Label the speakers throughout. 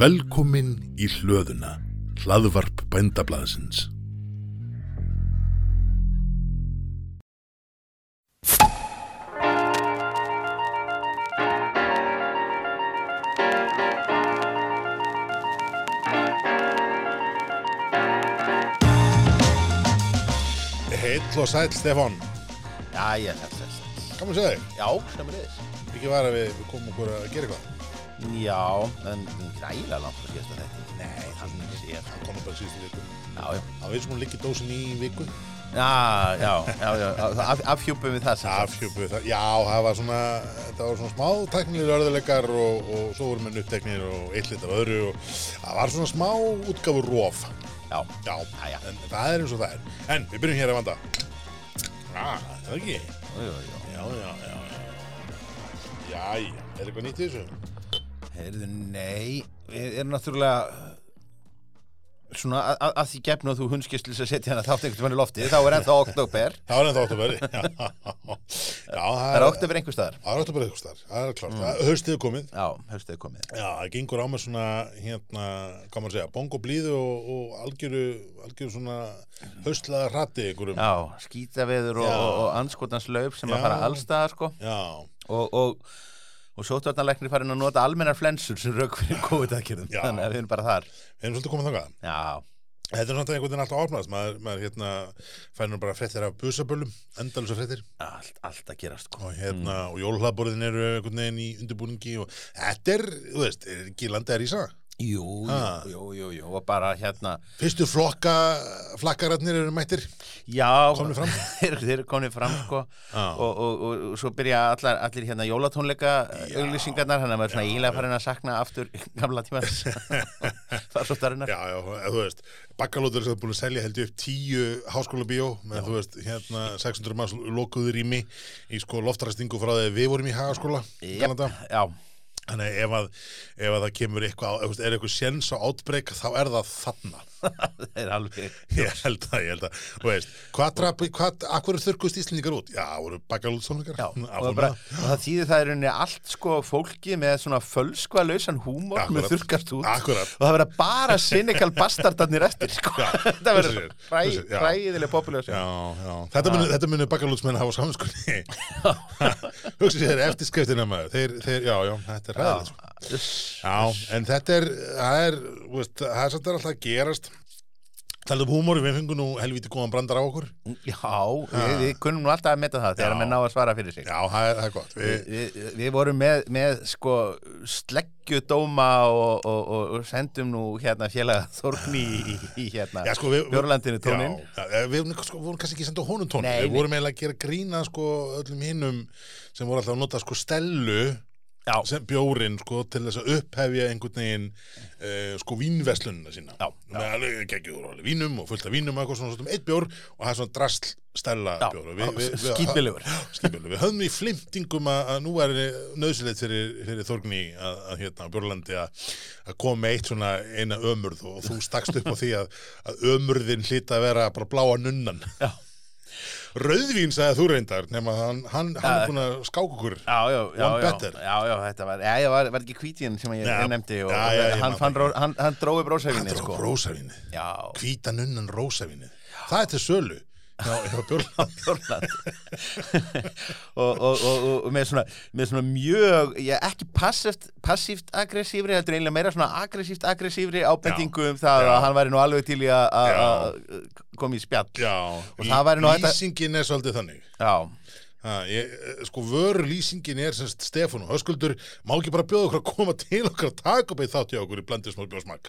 Speaker 1: Velkomin í hlöðuna, hlaðvarp bændablaðsins. Heill og sæll, Stefán.
Speaker 2: Jæja, þetta er hérna þetta.
Speaker 1: Gaman að sé þig.
Speaker 2: Já, sem er þess.
Speaker 1: Ekki var að við við komum okkur að gera eitthvað.
Speaker 2: Já, en hún er ægilega langt frá síðasta þetta. Nei, hann sé það.
Speaker 1: Komum bara síðustu viku.
Speaker 2: Já, já.
Speaker 1: Það við sem hún liggi dósin í viku.
Speaker 2: Já, já, já, já, það af, afhjúpum við það sem sagt.
Speaker 1: Afhjúpuð það, já, það var svona, þetta var svona smá teknilir örðuleikar og, og svo voru menn uppteknir og eitt litur öðru og það var svona smá útgáfur rof.
Speaker 2: Já,
Speaker 1: Já,
Speaker 2: Jæja.
Speaker 1: en það er eins og það er. En við byrjum hér að vanda. Já, það Ah, er ekki.
Speaker 2: jú, jú, jú.
Speaker 1: Já, já, já. Jæja, er eitthvað nýtt í þessu?
Speaker 2: Heyrðu, nei, við erum náttúrulega eh, svona að, að- að því gefnu að þú hundskist til að setja hana þátt einhvern veginn í lofti, þá er ennþá oktober.
Speaker 1: Það var ennþá oktober. Já, já
Speaker 2: Það er oktober einhver staðar.
Speaker 1: Það er oktober eitthvað starf, það er klart. Mm. Haustið er komið.
Speaker 2: Já, höfstuðu komið.
Speaker 1: Já, það gengur á með svona, hérna, hvað maður segja, bongo blíðu og, og algjöru, algjöru svona höstlaða hrati ykkurum.
Speaker 2: Já, skítaveður og,
Speaker 1: Já.
Speaker 2: og, og anskotans laup sem
Speaker 1: Já.
Speaker 2: að fara allstaðar, sko.
Speaker 1: Já,
Speaker 2: og, og, og sóttvarnalæknir farin að nota almennar flensur sem rauk fyrir COVID-aðgerðum
Speaker 1: Já.
Speaker 2: þannig að við erum bara þar
Speaker 1: við erum svolítið komið þangað.
Speaker 2: já,
Speaker 1: Þetta er náttúrulega einhvern veginn alltaf opnast, maður, maður hérna fær nú bara fréttir af busabölum, endalusa fréttir
Speaker 2: allt, allt að gerast sko.
Speaker 1: og hérna, og jólhlaðborðin eru einhvern veginn í undirbúningi og þetta er, þú veist, er ekki landið að rísa.
Speaker 2: jú,
Speaker 1: Ha.
Speaker 2: jú, jú, jú, jú og bara hérna
Speaker 1: Fyrstu flokka, flakkararnir eru mættir.
Speaker 2: já,
Speaker 1: Komnir fram.
Speaker 2: þeir, þeir eru komni fram sko.
Speaker 1: Já.
Speaker 2: og, og, og, og svo byrja allar, allir hérna jólatónleika
Speaker 1: Já.
Speaker 2: auglýsingarnar þannig að maður er svona ílega farin að sakna aftur gamla tímar farsóttarinnar
Speaker 1: Já, já, eða þú veist, bakkalótur er búin að selja held ég upp tíu háskóla bíó með þú veist, hérna 600 manns lokuðu rými í sko loftræstingu frá því að við vorum í hagaskóla í gamla daga.
Speaker 2: já,
Speaker 1: Þannig að ef að, ef að það kemur eitthvað, á- ef þú veist, er eitthvað séns á átbreyk þá er það þarna.
Speaker 2: það er alveg
Speaker 1: Ég held að, ég held að, þú veist, hvað drapi, hvað, akkur þurrkust Íslendingar út? Já, voru bakkalótsónleikar.
Speaker 2: Já, og það, bara, og það þýðir það er rauninni allt sko fólki með svona fölskva lausan húmor
Speaker 1: Akkurat.
Speaker 2: með þurrkast út
Speaker 1: Akkurat.
Speaker 2: og það verða bara cynical bastardarnir eftir sko.
Speaker 1: Já,
Speaker 2: þetta verður
Speaker 1: þessir,
Speaker 2: hræ-
Speaker 1: þessir, já.
Speaker 2: hræðilega populærs
Speaker 1: Já, já. Þetta munu, þetta munu bakkalótsmenn hafa samanskunni. Hugsa sér eftirskriftina maður. Þeir, þeir, já, já, þetta er sko. ræðið. Já, en þetta er, það er, þú veist, það er samt að alltaf að gerast. Talað um húmóri, við fengum nú helvítið góðan brandar á okkur.
Speaker 2: Já, við, við kunnum nú alltaf að meta það þegar
Speaker 1: Já.
Speaker 2: menn ná að svara fyrir sig
Speaker 1: Já, það er, það er gott. Við,
Speaker 2: Við, við vorum með, með sko sleggjudóma og, og, og, og sendum nú hérna félaga Þórgni í, í hérna
Speaker 1: já, sko, við...
Speaker 2: Björlandinu tónin
Speaker 1: Já, já, við sko, vorum kannski ekki senda honum tónin.
Speaker 2: Nei,
Speaker 1: við
Speaker 2: nei.
Speaker 1: vorum eiginlega að gera grína, sko, öllum hinnum sem voru alltaf að nota, sko, stellu
Speaker 2: Já.
Speaker 1: sem bjórin, sko, til þess að upphefja einhvern veginn, uh, sko, vínveslunina sína.
Speaker 2: Já, já.
Speaker 1: Með alveg geggjur alveg vínum og fullt af vínum og eitthvað svona, svona, eitt bjór og það er svona drasl stella
Speaker 2: Já,
Speaker 1: bjór.
Speaker 2: skýtmilegur
Speaker 1: Skipjölu, við höfum í flimtingum að, að nú er nöðsilegt fyrir, fyrir Þorgni að, að hérna á Björlandi að, að koma með eitt svona eina ömurð og þú stakst upp á því að, að ömurðin hlýta að vera bara bláa nunnan.
Speaker 2: Já.
Speaker 1: Rauðvín sagði þú reyndar, nema að hann, hann, hann er búin að skáka okkur.
Speaker 2: já, já, já,
Speaker 1: One
Speaker 2: já,
Speaker 1: better.
Speaker 2: já, já, þetta var, já, já, var, var ekki kvítin sem ég,
Speaker 1: Já.
Speaker 2: ég nefndi og
Speaker 1: Já, já, ég
Speaker 2: hann,
Speaker 1: man
Speaker 2: fann,
Speaker 1: það
Speaker 2: ró, hann, hann drói
Speaker 1: Þetta
Speaker 2: brósæfinni
Speaker 1: er
Speaker 2: sko.
Speaker 1: okkur rósavinnið.
Speaker 2: Já,
Speaker 1: Hvíta nunnan rósavinnið. Það er til sölu. Já, já, Björlandi.
Speaker 2: Þórland og, og, og, og, og með, svona, með svona mjög já, ekki passivt, passivt aggressífri heldur einlega meira svona aggressíft aggressífri ábendingu um það
Speaker 1: Já.
Speaker 2: að hann væri nú alveg til í að- að
Speaker 1: Já.
Speaker 2: að koma í spjall
Speaker 1: Já,
Speaker 2: Og það væri nú hægt að-
Speaker 1: lýsingin er svolítið þannig.
Speaker 2: Já,
Speaker 1: Ha, ég, eh, sko vörlýsingin er semst Stefán og Höskuldur má ekki bara bjóða okkur að koma til okkar að taka upp eitt þátt hjá okkur í blandið smá smakk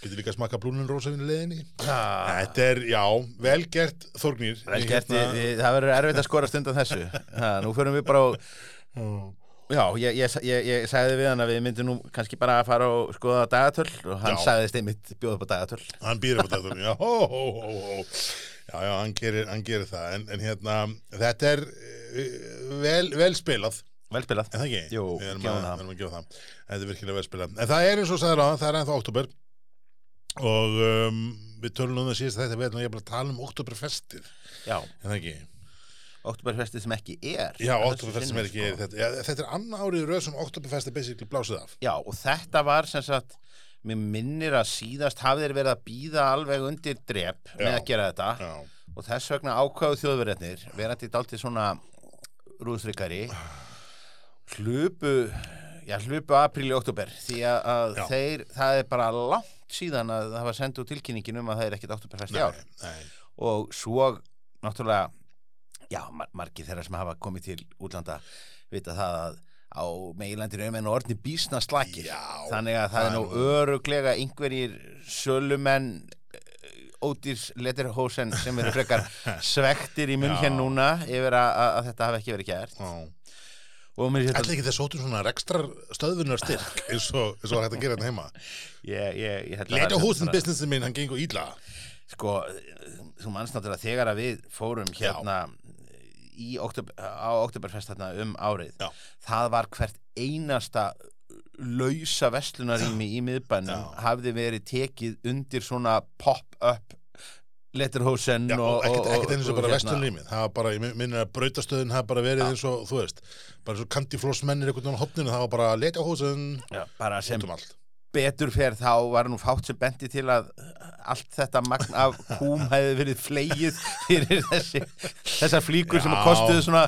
Speaker 1: getur líka að smakka blúnin rósafinn í leðinni
Speaker 2: já.
Speaker 1: þetta er, já, vel gert Þorgnir
Speaker 2: Ah. Vel gert,
Speaker 1: hérna-
Speaker 2: ég- ég- það verður erfitt að skorast undan þessu ha, Nú förum við bara á Já, ég, ég, ég, ég sagði við hann að við myndum nú kannski bara að fara og skoða dagatöl og hann
Speaker 1: Já.
Speaker 2: sagðist einmitt bjóð upp á dagatöl
Speaker 1: hann býr upp á þetta já, hó, hó, hó, hó. já, já, hann gerir, hann gerir það en, en hérna, þetta er eh, vel, vel spilað
Speaker 2: Vel spilað
Speaker 1: en það ekki,
Speaker 2: Jú,
Speaker 1: við erum
Speaker 2: gefum
Speaker 1: að,
Speaker 2: það.
Speaker 1: erum að gefa það þetta er virkilega vel spilað en það er eins og sagði ráðan, það er ennþá oktober og um, við tölum um það síðast þetta við erum að tala um oktoberfestið
Speaker 2: Já,
Speaker 1: en það ekki,
Speaker 2: oktoberfestið sem ekki er
Speaker 1: já,
Speaker 2: Að þessu
Speaker 1: oktoberfestið
Speaker 2: sinni,
Speaker 1: sem er ekki
Speaker 2: sko.
Speaker 1: þetta, já, þetta er annan árið í röð sem oktoberfestið basically blásið af
Speaker 2: Já, og þetta var sem sagt mér minnir að síðast hafi þeir verið að býða alveg undir drep með
Speaker 1: Já.
Speaker 2: að gera þetta
Speaker 1: já,
Speaker 2: og þess vegna ákvaðu þjóðverðarnir verandi dálítið svona rúðsrykkari hlupu já, hlupu apríli og oktober því að, að
Speaker 1: Já.
Speaker 2: þeir, það er bara langt síðan að það var sendu tilkynningin um að það er ekkit oktoberfest í ár
Speaker 1: nei,
Speaker 2: og svo náttúrulega já, mar margir þeirra sem hafa komið til útlanda vita það að á meilandinu um enn orðni bísna slakir
Speaker 1: Já,
Speaker 2: þannig að það
Speaker 1: það
Speaker 2: er nú öruglega einhverjir sölumenn eh, ódýrs letterhosen sem eru frekar svektir í munn hér
Speaker 1: Já.
Speaker 2: núna yfir að, að- að þetta hafi ekki verið gert
Speaker 1: já.
Speaker 2: og mér sér
Speaker 1: Ætli ekki þess óttu svona rekstrar stöðvunar styrk eins og, eins og er hægt að gera þetta heima
Speaker 2: ég, ég, ég held að
Speaker 1: Leta
Speaker 2: það-
Speaker 1: húsin businessin minn, hann gengur ídla
Speaker 2: sko, þú manns náttúrulega þegar að við fórum hérna í oktober, á Oktoberfest þarna um árið
Speaker 1: Já.
Speaker 2: það var hvert einasta lausa vestlunarými í miðbænum
Speaker 1: Já.
Speaker 2: hafði verið tekið undir svona pop-up letterhosen
Speaker 1: Já,
Speaker 2: og,
Speaker 1: ekkert, ekkert eins og bara
Speaker 2: hérna,
Speaker 1: vestunlýmið það var bara, ég minna að brautastöðin það var bara verið eins og, þú veist bara eins og kandiflósmennir einhvern veginn á hotninu það var bara leta húsin
Speaker 2: já, bara sem
Speaker 1: út um allt
Speaker 2: betur fer þá var nú fátt sem bendi til að eh, allt þetta magn af kúm hefði verið flegið fyrir þessi, þessar flíkur sem
Speaker 1: Já.
Speaker 2: kostuðu svona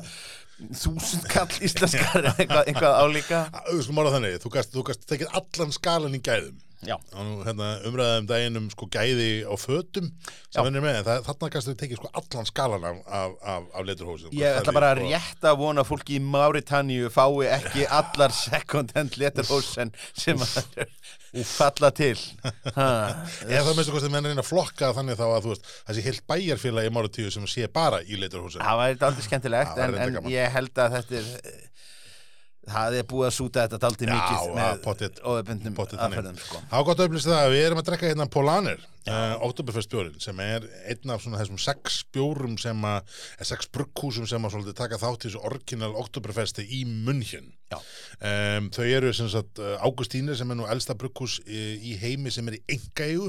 Speaker 2: þúsund kall íslenskar eða eitthvað, eitthvað álíka
Speaker 1: Að, Þú skulum ára þannig, þú gast, þú gast tekið allan skalan í gæðum
Speaker 2: já,
Speaker 1: og nú hérna, umræðum daginn um sko gæði á fötum
Speaker 2: Já.
Speaker 1: sem henni er með, það, þarna gæstu tekið sko allan skalan af, af, af, af leturhósum
Speaker 2: ég ætla bara að rétta að vona að fólki í Máritanníu fái ekki allar second hand letterhosen sem að falla til ha,
Speaker 1: eða það mestu kosti menn er einn að flokka þannig þá að þú veist þessi heilt bæjarfélagi í mára tíu sem sé bara í leturhósum
Speaker 2: það væri aldrei skemmtilegt
Speaker 1: Það væri
Speaker 2: en,
Speaker 1: reyndar
Speaker 2: en
Speaker 1: gaman.
Speaker 2: ég held að þetta er eh, það er búið að súta þetta daldið
Speaker 1: Já,
Speaker 2: mikið
Speaker 1: að
Speaker 2: með
Speaker 1: pottþétt-
Speaker 2: óöfbundum
Speaker 1: pottþétt þannig.
Speaker 2: aðferðum sko.
Speaker 1: Það var gott að upplýsa það að við erum að drekka hérna Polanir, uh, Oktoberfest bjórin sem er einn af svona þessum sex bjórum sem að, eða sex brugghúsum sem að svolítið taka þátt í þessu orginal Oktoberfesti í München
Speaker 2: Já.
Speaker 1: um, Þau eru sem sagt eh, Águstínir sem er nú elsta brugghús eh, í heimi sem er í engaegu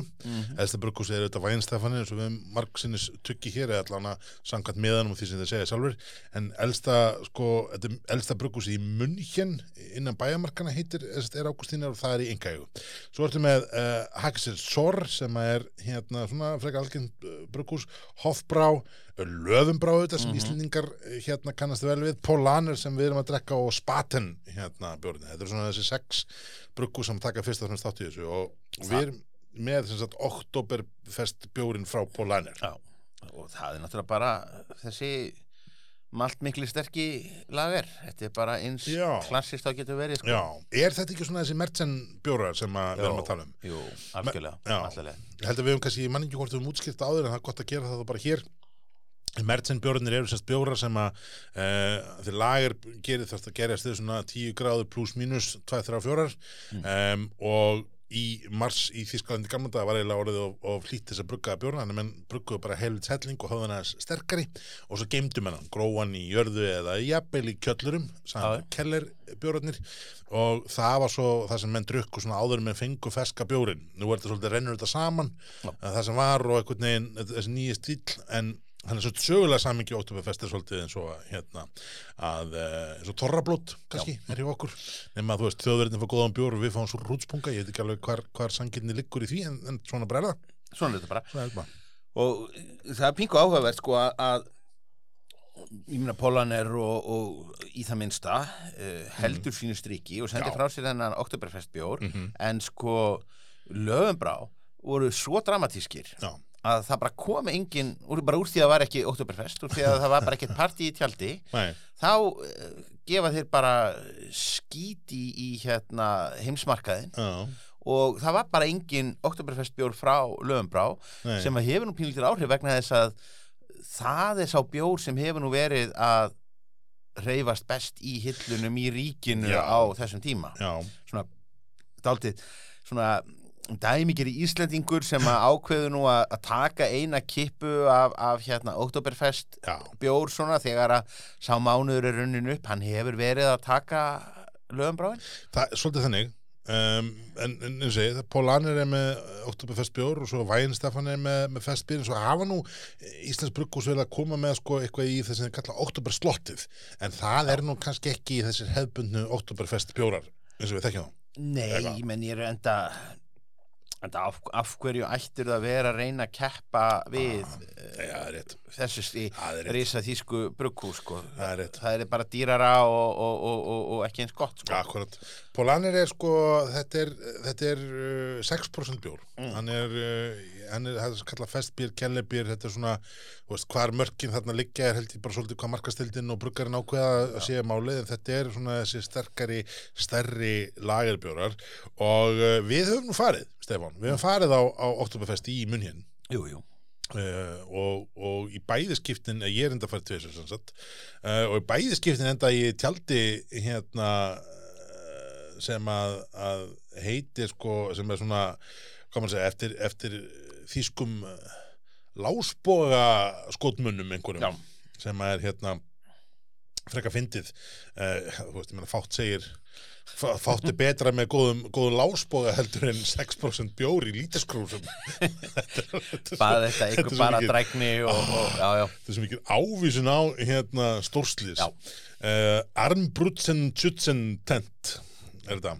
Speaker 1: elsta brugghús er auðvitað Vænstafani eins og við margsinnis tukki hér eða allan að samkvæmt meðanum og því sem þeir segja sjálfur en elsta, sko, þetta er elsta brugghús í München innan bæjarmarkana heitir, eh, sem sagt, er Águstínir og það er í engaegu. Svo ertu með uh, Haxel Sor sem er hérna svona frekar algjönd uh, brugghús Hoffbrá, eh, Löfumbrá auðvitað sem Íslendingar eh, hérna kannast vel við Polaner sem við erum að drekka og Spaten hérna bjórni. Þetta eru svona þessi sex brugghús sem taka fyrst að fremst þátt í þessu og við erum með sem sagt oktoberfest bjórin frá Polaner
Speaker 2: Já, og það er náttúrulega bara þessi malt miklu sterki lager þetta er bara eins
Speaker 1: Já.
Speaker 2: klassist þá getur verið sko.
Speaker 1: Já, er þetta ekki svona þessi mertsen bjórar sem að við erum að tala um?
Speaker 2: Jú, algjörlega,
Speaker 1: Já.
Speaker 2: allavega
Speaker 1: Ég held að við hefum kannski, ég man ekki hvort við höfum útskýrt það áður en það er gott að gera það þá bara hér Mertsen bjórnir eru sérst bjórar sem að e, þeir lager gerir þarf að gerjast þau svona 10 gráður pluss mínus 2-3-4 mm. og í mars í Þískalandi gamla dag var eiginlega orðið of, of hlýtt þess að brugga bjórna en menn brugguðu bara helvits helling og höfðan aðeins sterkari og svo geymdu menn hann, gróan í jörðu eða jafnvel í kjöllurum
Speaker 2: Já,
Speaker 1: sagði keller bjórarnir og það var svo það sem menn drukku svona áður með fengu ferska bjórin nú er þetta svolítið rennur þetta saman
Speaker 2: Já.
Speaker 1: að það sem var og einhvern veginn þessi nýja stíl en þannig svo sögulega samingi óttúrfest er svolítið eins og að, hérna að eh, eins og torrablót kannski er hjá okkur nema að þú veist þjóðverðin fór góðan bjór og við fáum svo rútspunga ég veit ekki alveg hvar, hvar sanginni liggur í því en, en svona brella
Speaker 2: svona er þetta bara
Speaker 1: svona er þetta bara.
Speaker 2: og það er pingu áhugavert sko að- að ég meina Pólaner og, og í það minnsta uh, heldur sínu striki og sendir
Speaker 1: Mm. Já.
Speaker 2: frá sér þennan Oktoberfest bjór en sko löfumbrá voru svo dramatískir
Speaker 1: Já.
Speaker 2: að það bara kom engin úr, bara úr því að það var ekki Oktoberfest úr því að það var bara ekkert partí í tjaldi
Speaker 1: Nei,
Speaker 2: þá uh, gefa þeir bara skíti í hérna heimsmarkaðin
Speaker 1: já,
Speaker 2: og það var bara engin Oktoberfest bjór frá löfumbrá
Speaker 1: nei,
Speaker 2: sem að hefur nú pínlítil áhrif vegna þess að það er sá bjór sem hefur nú verið að reyfast best í hillunum í ríkinu
Speaker 1: Já.
Speaker 2: á þessum tíma
Speaker 1: já,
Speaker 2: svona dálítið svona dæmikir Íslendingur sem að ákveðu nú að, að taka eina kippu af, af hérna Oktoberfest
Speaker 1: já,
Speaker 2: bjór svona þegar að sá mánuður er runnin upp, hann hefur verið að taka lögumbráin
Speaker 1: það er svolítið þannig Um, en, en, en segi, það Pólanir er með Oktoberfest bjór og svo Vænstafan er með, með festbýrin, svo hafa nú Íslands brugghús verið að koma með sko eitthvað í þess að kalla Oktoberslottið en það er nú kannski ekki í þessir hefbundnu Oktoberfest bjórar, eins og við þekkjum
Speaker 2: Nei,
Speaker 1: Eitthvað.
Speaker 2: menn ég er enda En af, af hverju ættir það að vera að reyna að keppa við
Speaker 1: Já,
Speaker 2: eh,
Speaker 1: það er rétt.
Speaker 2: þessu stí
Speaker 1: Það er rétt.
Speaker 2: risa þýsku brukkú sko.
Speaker 1: Það er rétt.
Speaker 2: það er bara dýrara og, og, og, og, og ekki eins gott sko.
Speaker 1: Akkurat. Polanir er sko, þetta er, þetta er uh, 6% bjór. Hann er, uh, hann er, það er kallað festbýr, kellebýr, þetta er svona, þú veist, hvar mörkin þarna liggja er held ég bara svolítið hvað markastildin og bruggarinn ákveða að séu málið, en þetta er svona þessi sterkari, stærri lagerbjórar og uh, við höfum nú farið, Stefán, við höfum farið á, á Oktoberfest í Munhjörn
Speaker 2: Jú, jú
Speaker 1: Uh, og, og í bæðiskiptin ég er enda að fara tvisar sem sagt uh, og í bæðiskiptin enda ég tjaldi hérna uh, sem að, að heitir sko sem er svona hvað maður segja, eftir, eftir þýskum uh, lásboga skotmunnum einhverjum
Speaker 2: Já.
Speaker 1: sem er hérna frekka fyndið uh, þú veist, ég meina fátt segir fá- fátt er betra með góðum, góðum lásboga heldur en 6% bjór í lítaskrúsum
Speaker 2: bara þetta,
Speaker 1: Þetta er
Speaker 2: ykkur
Speaker 1: svo
Speaker 2: bara
Speaker 1: mikið.
Speaker 2: drækni og, og, já, já,
Speaker 1: þetta er sem ekki ávísun á hérna stórslýs
Speaker 2: Já.
Speaker 1: uh, Armbrutzen Tjutzen tent er þetta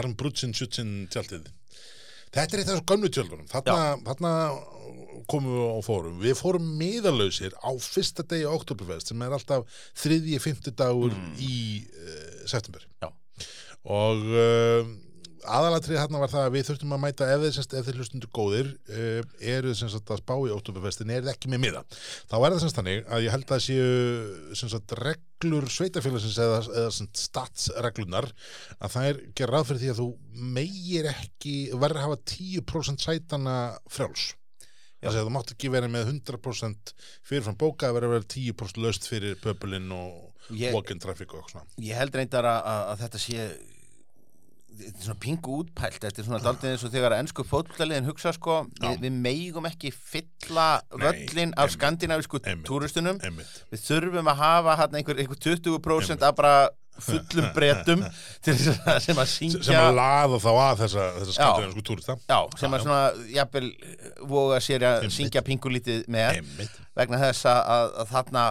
Speaker 1: Armbrutzen Tjutzen tjaldið þetta er eitt af þessu gömlu tjöldunum þarna, þarna komum við og fórum við fórum miðalausir á fyrsta degi oktoberfest sem er alltaf þriðji, fymti dagur í uh, september
Speaker 2: já,
Speaker 1: og uh, aðalatrið hérna var það að við þurftum að mæta ef þeir, semst, ef þeir hlustundur góðir uh, eru sem sagt að spá í óttúbefestin er það ekki með miða. Þá er það semst þannig að ég held að séu sem sagt reglur sveitafélagsins eða, eða sem sagt, statsreglunar að það er gerð ráð fyrir því að þú meir ekki verður að hafa 10% sætana frjáls.
Speaker 2: Já.
Speaker 1: Það sé að þú mátt ekki vera með 100% fyrirfram bóka að vera að vera 10% löst fyrir pöpulinn og
Speaker 2: Ég-
Speaker 1: walk-in traffic og eitthvað svona.
Speaker 2: ég held reyndar að, að, að þetta sé þetta er svona pingu útpælt þetta
Speaker 1: Ah.
Speaker 2: er svona daldið eins og þegar ennsku fótboltaliðin hugsa sko, við, við meigum ekki fylla völlin af skandinavísku
Speaker 1: einmitt.
Speaker 2: túristunum
Speaker 1: Einmitt.
Speaker 2: við þurfum að hafa hann einhver, einhver 20% af bara fullum bretum til þess að sem að syngja
Speaker 1: sem að laða þá að þessa, þessa skandinavísku túrista
Speaker 2: já, sem að svona, jafnvel, eh, voga sér að
Speaker 1: Einmitt.
Speaker 2: syngja pingulítið með
Speaker 1: Einmitt.
Speaker 2: vegna þess að, að, að þarna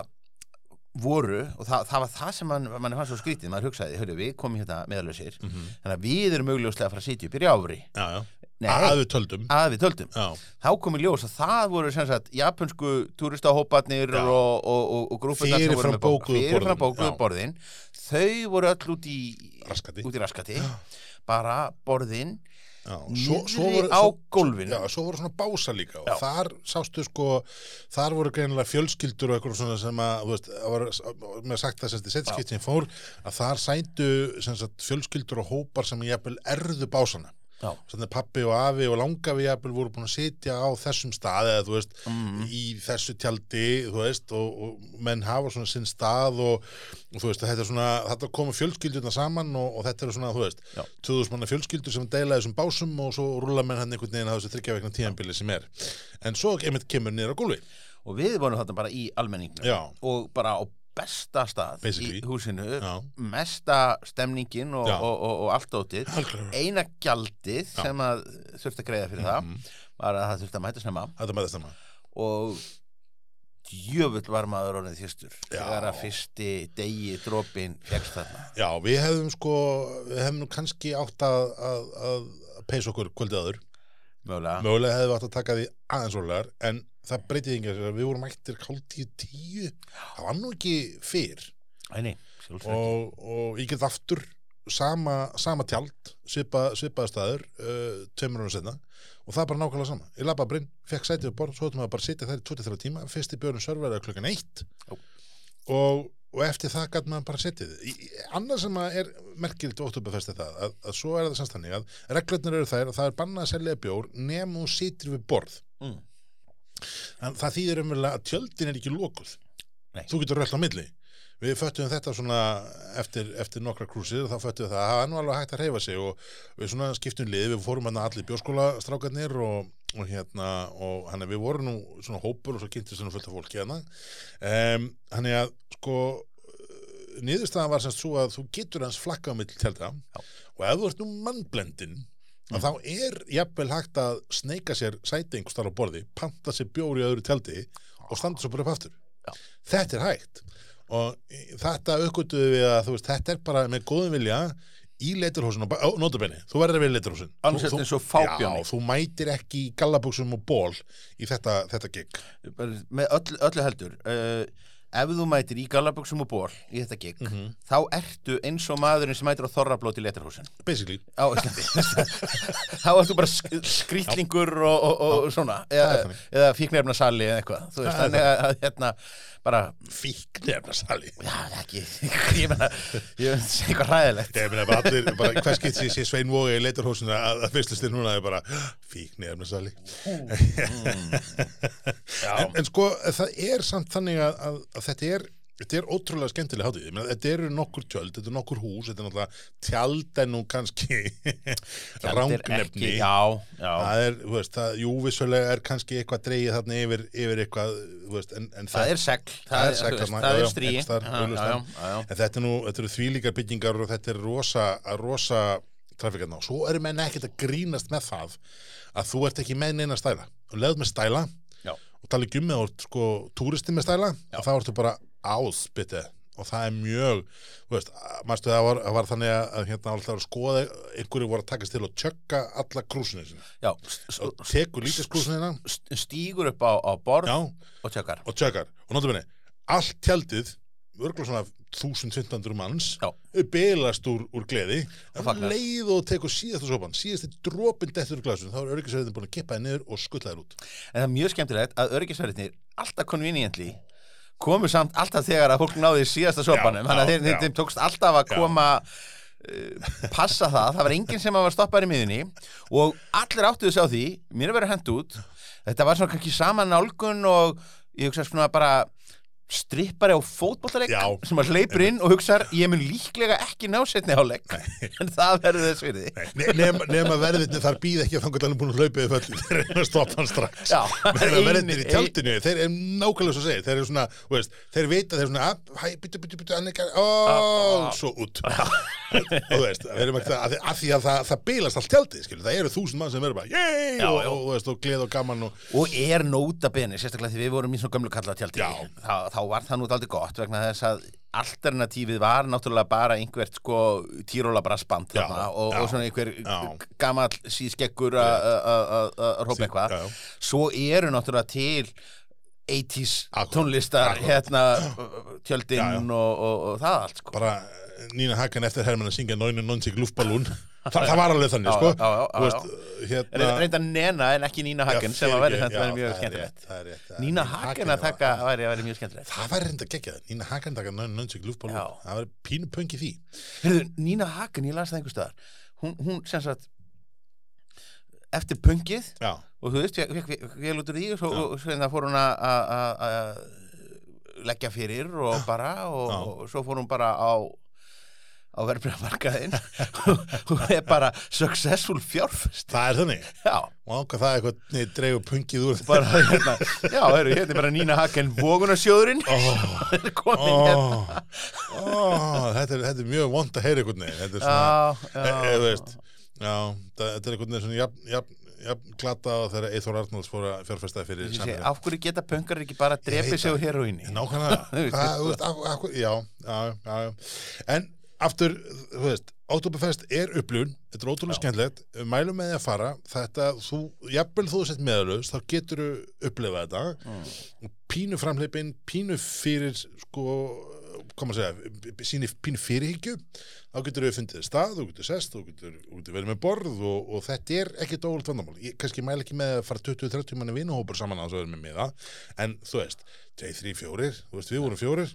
Speaker 2: voru og það, það var það sem mann man fannst svo skrítið, maður hugsaði, hörru, við komum hérna meðalöðsir,
Speaker 1: Mhm.
Speaker 2: þannig að við erum augljóslega að fara að sitja upp í rjáfri,
Speaker 1: Já, já.
Speaker 2: Nei.
Speaker 1: að við töldum
Speaker 2: að við töldum
Speaker 1: já,
Speaker 2: þá kom í ljós að það voru sem sagt japansku turistahóparnir
Speaker 1: Já.
Speaker 2: og, og, og, og grúfurnar sem voru
Speaker 1: Fyrirfram
Speaker 2: með bók-
Speaker 1: bókuðu
Speaker 2: fyrirfram
Speaker 1: borðin,
Speaker 2: bókuðu borðin þau voru öll út í
Speaker 1: Raskati.
Speaker 2: út í raskati bara borðin
Speaker 1: já.
Speaker 2: niðri á gólfinu
Speaker 1: já, svo voru svona bása líka og
Speaker 2: Já.
Speaker 1: þar sástu sko þar voru greinilega fjölskyldur og eitthvað svona sem að, þú veist, að var, með sagt það sem þetta setskipt sem ég fór að þar sændu sem sagt, fjölskyldur og hópar sem jafnvel erðu básana
Speaker 2: Já.
Speaker 1: Sannig pappi og afi og langafi jafnvel voru búin að sitja á þessum stað eða þú veist, í þessu tjaldi þú veist, og, og menn hafa svona sinn stað og, og þú veist, þetta er svona þetta koma fjölskyldurna saman og, og þetta eru svona, þú veist,
Speaker 2: Já.
Speaker 1: 2000 manna fjölskyldur sem deila þessum básum og svo rúla menn hann einhvern veginn að þessu þryggja vegna tíðanbili sem er en svo einmitt kemur niður á gólfi
Speaker 2: og við vorum þarna bara í almenningnum
Speaker 1: Já.
Speaker 2: og bara á besta stað
Speaker 1: Basically.
Speaker 2: í húsinu
Speaker 1: Já.
Speaker 2: mesta stemningin og,
Speaker 1: Já.
Speaker 2: og, og, og allt ótið
Speaker 1: Algjörlega. Mhm.
Speaker 2: eina gjaldið sem að þurfti að greiða fyrir það var að það þurfti að mæta snemma
Speaker 1: Mm. þetta með þess að
Speaker 2: og djöfull var maður orðin þýstur þegar að fyrsti degi dropin fegst þarna
Speaker 1: Já, við hefðum sko, við hefðum nú kannski átt að, að, að peysa okkur kvöldið aður
Speaker 2: mögulega
Speaker 1: mögulega hefðum við átt að taka því aðeins ólegar en það breytið engar sér að við vorum mættir káltíu tíu, það var nú ekki fyrr
Speaker 2: Æni, sjálfsagt
Speaker 1: og, og ég get aftur sama, sama tjald svipa, svipaða staður uh, tveimur ára setna og það er bara nákvæmlega sama ég labba brinn, fekk sætið við borð, svo höfðum við að bara sitja þær í 23 tíma, fyrsti björnum server er klukkan 1
Speaker 2: Jó.
Speaker 1: og, og eftir það gæt maður bara setið Í- í- annað sem að er merkilt og óttúbefest er það, að, að svo er það samstæðning að reglurnar eru þær að það er bannað að selja bjór nema þú sitir við borð
Speaker 2: Mm.
Speaker 1: en það þýðir umverulega að tjöldin er ekki lokuð
Speaker 2: Nei.
Speaker 1: þú getur röll á milli Við föttum þetta svona eftir, eftir nokkra krúsir og þá föttum við það að það var nú alveg hægt að reyfa sig og við svona skiptum lið, við fórum hann allir bjórskólastrákarnir og, og hérna og hann er við vorum nú svona hópur og svo kynntum svona fullt af fólki hérna um, hann er að sko eh, niðurstaðan var semst svo að þú getur hans flakka á milli telta
Speaker 2: Já.
Speaker 1: og ef þú ert nú mannblendin að þá er jafnvel hægt að sneika sér sæti einhvers þar á borði, panta sér bjóri í öðru telti og standa svo bara upp aftur
Speaker 2: Já.
Speaker 1: eh, þetta er hægt og í- þetta aukvölduðu við að þú veist, þetta er bara með góðum vilja í leiturhúsin og notabenni, þú verður að vera í leiturhúsin
Speaker 2: Annars ertu eins og fábjáni.
Speaker 1: Já, þú mætir ekki í gallabuxum og ból í þetta, þetta gig
Speaker 2: bara með öll, öllu heldur uh, ef þú mætir í gallabuxum og ból í þetta gig,
Speaker 1: Mhm.
Speaker 2: þá ertu eins og maðurinn sem mætir á þorrablót í letarhúsin
Speaker 1: basically,
Speaker 2: á Íslandi þá ertu bara sk skrýtlingur og, og, og svona
Speaker 1: það er
Speaker 2: eða,
Speaker 1: þannig.
Speaker 2: eða fíknefna sali eða eitthvað þú veist,
Speaker 1: Það er
Speaker 2: þannig að, að hérna bara,
Speaker 1: fíknefna sali
Speaker 2: já, ekki ég meina, ég meina, þetta er eitthvað hræðilegt
Speaker 1: Ég meina bara allir, bara hvers gett sér sér Svein Vóga í leitarhúsinu að, að fyrstlustir núna er bara fíkni efnisali. en, en sko, það er samt þannig að, að, að þetta er Þetta er ótrúlega skemmtileg hátíð, Ég meina, þetta eru nokkur tjöld, þetta eru nokkur hús, þetta er náttúrulega tjald en nú kannski
Speaker 2: Þetta er ekki-
Speaker 1: rángnefni.
Speaker 2: já, já,
Speaker 1: Það er, þú veist, það, jú, vissulega er kannski eitthvað dreigið þarna yfir, yfir eitthvað, þú veist, en, en
Speaker 2: það er segl
Speaker 1: það er
Speaker 2: þú
Speaker 1: sækast
Speaker 2: veist, það er strí
Speaker 1: en þetta er nú, þetta eru þvílíkar byggingar og þetta er rosa, rosa trafikarna og svo eru menn ekkert að grínast með það að þú ert ekki með neina stæla og leður með stæla
Speaker 2: Já.
Speaker 1: og tala ekki um með þú sko, túristi með stæla og þá ertu bara áðbytti og það er mjög, þú veist, mæstu það var, það var þannig að, að hérna alltaf að skoða einhverju voru að takast til og tjökka alla krúsinu sinna
Speaker 2: já, st- st-
Speaker 1: og tekur lítið krúsinina
Speaker 2: st- stígur upp á, á borð
Speaker 1: já,
Speaker 2: og tjökkar
Speaker 1: og tjökkar og notabene, allt tjaldið örgulega svona 1500 manns
Speaker 2: Já.
Speaker 1: bylast úr, úr gleði
Speaker 2: Og
Speaker 1: en
Speaker 2: fagnar.
Speaker 1: leið og tekur síðasta sopan síðasti dropin dettur úr glasun þá er örgisverðin búin að kippa þið niður og skuttla þér út
Speaker 2: en það er mjög skemmtilegt að öryggisverðinir alltaf conveniently komu samt alltaf þegar að fólk náði í síðasta
Speaker 1: Já,
Speaker 2: sopanum þannig að
Speaker 1: já,
Speaker 2: þeir- þeir-
Speaker 1: já.
Speaker 2: þeim tókst alltaf að
Speaker 1: Já.
Speaker 2: koma uh, passa það, það var enginn sem var stoppaður í miðunni og allir áttuðu sig á því mér er verið hent út þetta var svona kannski sama nálgun og ég hugsa svona bara strippari á fótbollaleik
Speaker 1: Já.
Speaker 2: sem að hleypur inn og hugsar ég mun líklega ekki ná setni áleik en það verður þess fyrir því
Speaker 1: Ne- nema, nema verðinni þar býð ekki að þangur talin búin að hlaupa þið föll þeir eru að stoppa hann strax
Speaker 2: Já.
Speaker 1: meðan að verðinni í
Speaker 2: Ein-
Speaker 1: tjaldinu þeir eru nákvæmlega svo segir þeir eru svona, þú veist, þeir vita þeir eru svona að, hæ, byttu, byttu, byttu,
Speaker 2: Ah,
Speaker 1: annika og svo út og þú veist, það verðum ekki það af því- af því að það, það bilast allt tjaldið, skilur, það eru þúsund mann sem verður bara, yey,
Speaker 2: Já,
Speaker 1: og,
Speaker 2: já.
Speaker 1: og, þú veist, og gleð og gaman og
Speaker 2: Og er nota bene, sérstaklega því við vorum í svona gömlu kallatjaldi
Speaker 1: Já.
Speaker 2: Þa, Þá var það nú aldrei gott vegna þess að alternatífið var náttúrulega bara einhvert sko tíróla brassband
Speaker 1: Já,
Speaker 2: þarna og,
Speaker 1: já,
Speaker 2: og svona einhver
Speaker 1: já.
Speaker 2: gamall sískeggur að
Speaker 1: Sí,
Speaker 2: rópa eitthvað
Speaker 1: já, já.
Speaker 2: Svo eru náttúrulega til 80s
Speaker 1: Akkúrat,
Speaker 2: tónlistar
Speaker 1: akkúrat.
Speaker 2: hérna uh, tjöldin
Speaker 1: Já, já.
Speaker 2: Og, og, og það allt sko
Speaker 1: bara eh, Nína Hakan eftir hermenn að syngja Nóinu Nónsík Lúfbalún Þa, það var alveg þannig,
Speaker 2: Já,
Speaker 1: sko
Speaker 2: já, já, já,
Speaker 1: Þú veist, hérna
Speaker 2: Reynda nena en ekki Nína Hagen sem að væri þetta væri mjög skemmtilegt
Speaker 1: skemmtilegt
Speaker 2: Nína Hagen að taka væri, væri mjög skemmtilegt
Speaker 1: Það væri reynda geggjað, Nína Hagen taka Nóinu Nónsík Lúfbalún
Speaker 2: Já.
Speaker 1: Það væri pínu pöngi því
Speaker 2: Heyrðu, Nína Hagen, ég las það einhver staðar hún, hún sem sagt eftir pöngið
Speaker 1: Já,
Speaker 2: og þú veist, ég vel út úr því og svo, og svo hérna fór hún að- að að- að leggja fyrir og bara og,
Speaker 1: Já.
Speaker 2: og svo fór hún bara á á verðbregamarkaðinn og er bara successful fjárfest
Speaker 1: það er þannig
Speaker 2: já,
Speaker 1: Og ákvað það eitthvað, nei, dreifu pöngið úr
Speaker 2: bara hérna já, heyrðu, hérna er bara Nína Hagen vogunarsjóðurinn oh. komin
Speaker 1: Ó,
Speaker 2: hérna
Speaker 1: ó, þetta, er, þetta er mjög vond að heyra einhvern veginn Þetta er svona e,
Speaker 2: já, já,
Speaker 1: e, þú veist, já, það- þetta er einhvern veginn svona jafn, jafn, jafn glata og þegar Eithor Arnolds fór að fjárfestaði fyrir
Speaker 2: Ég segi,
Speaker 1: Samherja.
Speaker 2: af hverju geta pöngar ekki bara að
Speaker 1: veit
Speaker 2: drepa sig á heroinni
Speaker 1: Nákvæmlega
Speaker 2: Þú veist,
Speaker 1: Hvað, þú veist, af- af hverju- Já, já, já já. En aftur, þú veist Oktoberfest er upplun, þetta er ótrúlega skemmtilegt mælum með því að fara, þetta þú, jafnvel þú sett meðalöðs, þá getur upplifað þetta
Speaker 2: Mm.
Speaker 1: pínu framleipin, pínu fyrir sko, hvað maður að segja síni pínu fyrirhyggju þá getur þau fundið stað, þú getur sest þú getur, þú getur verið með borð og, og þetta er ekkit óvöld vandamál, ég kannski mæl ekki með að fara 20-30 manni vinahópur saman á þessu verið með miða, en þú veist 2-3 fjórir, þú veist við vorum fjórir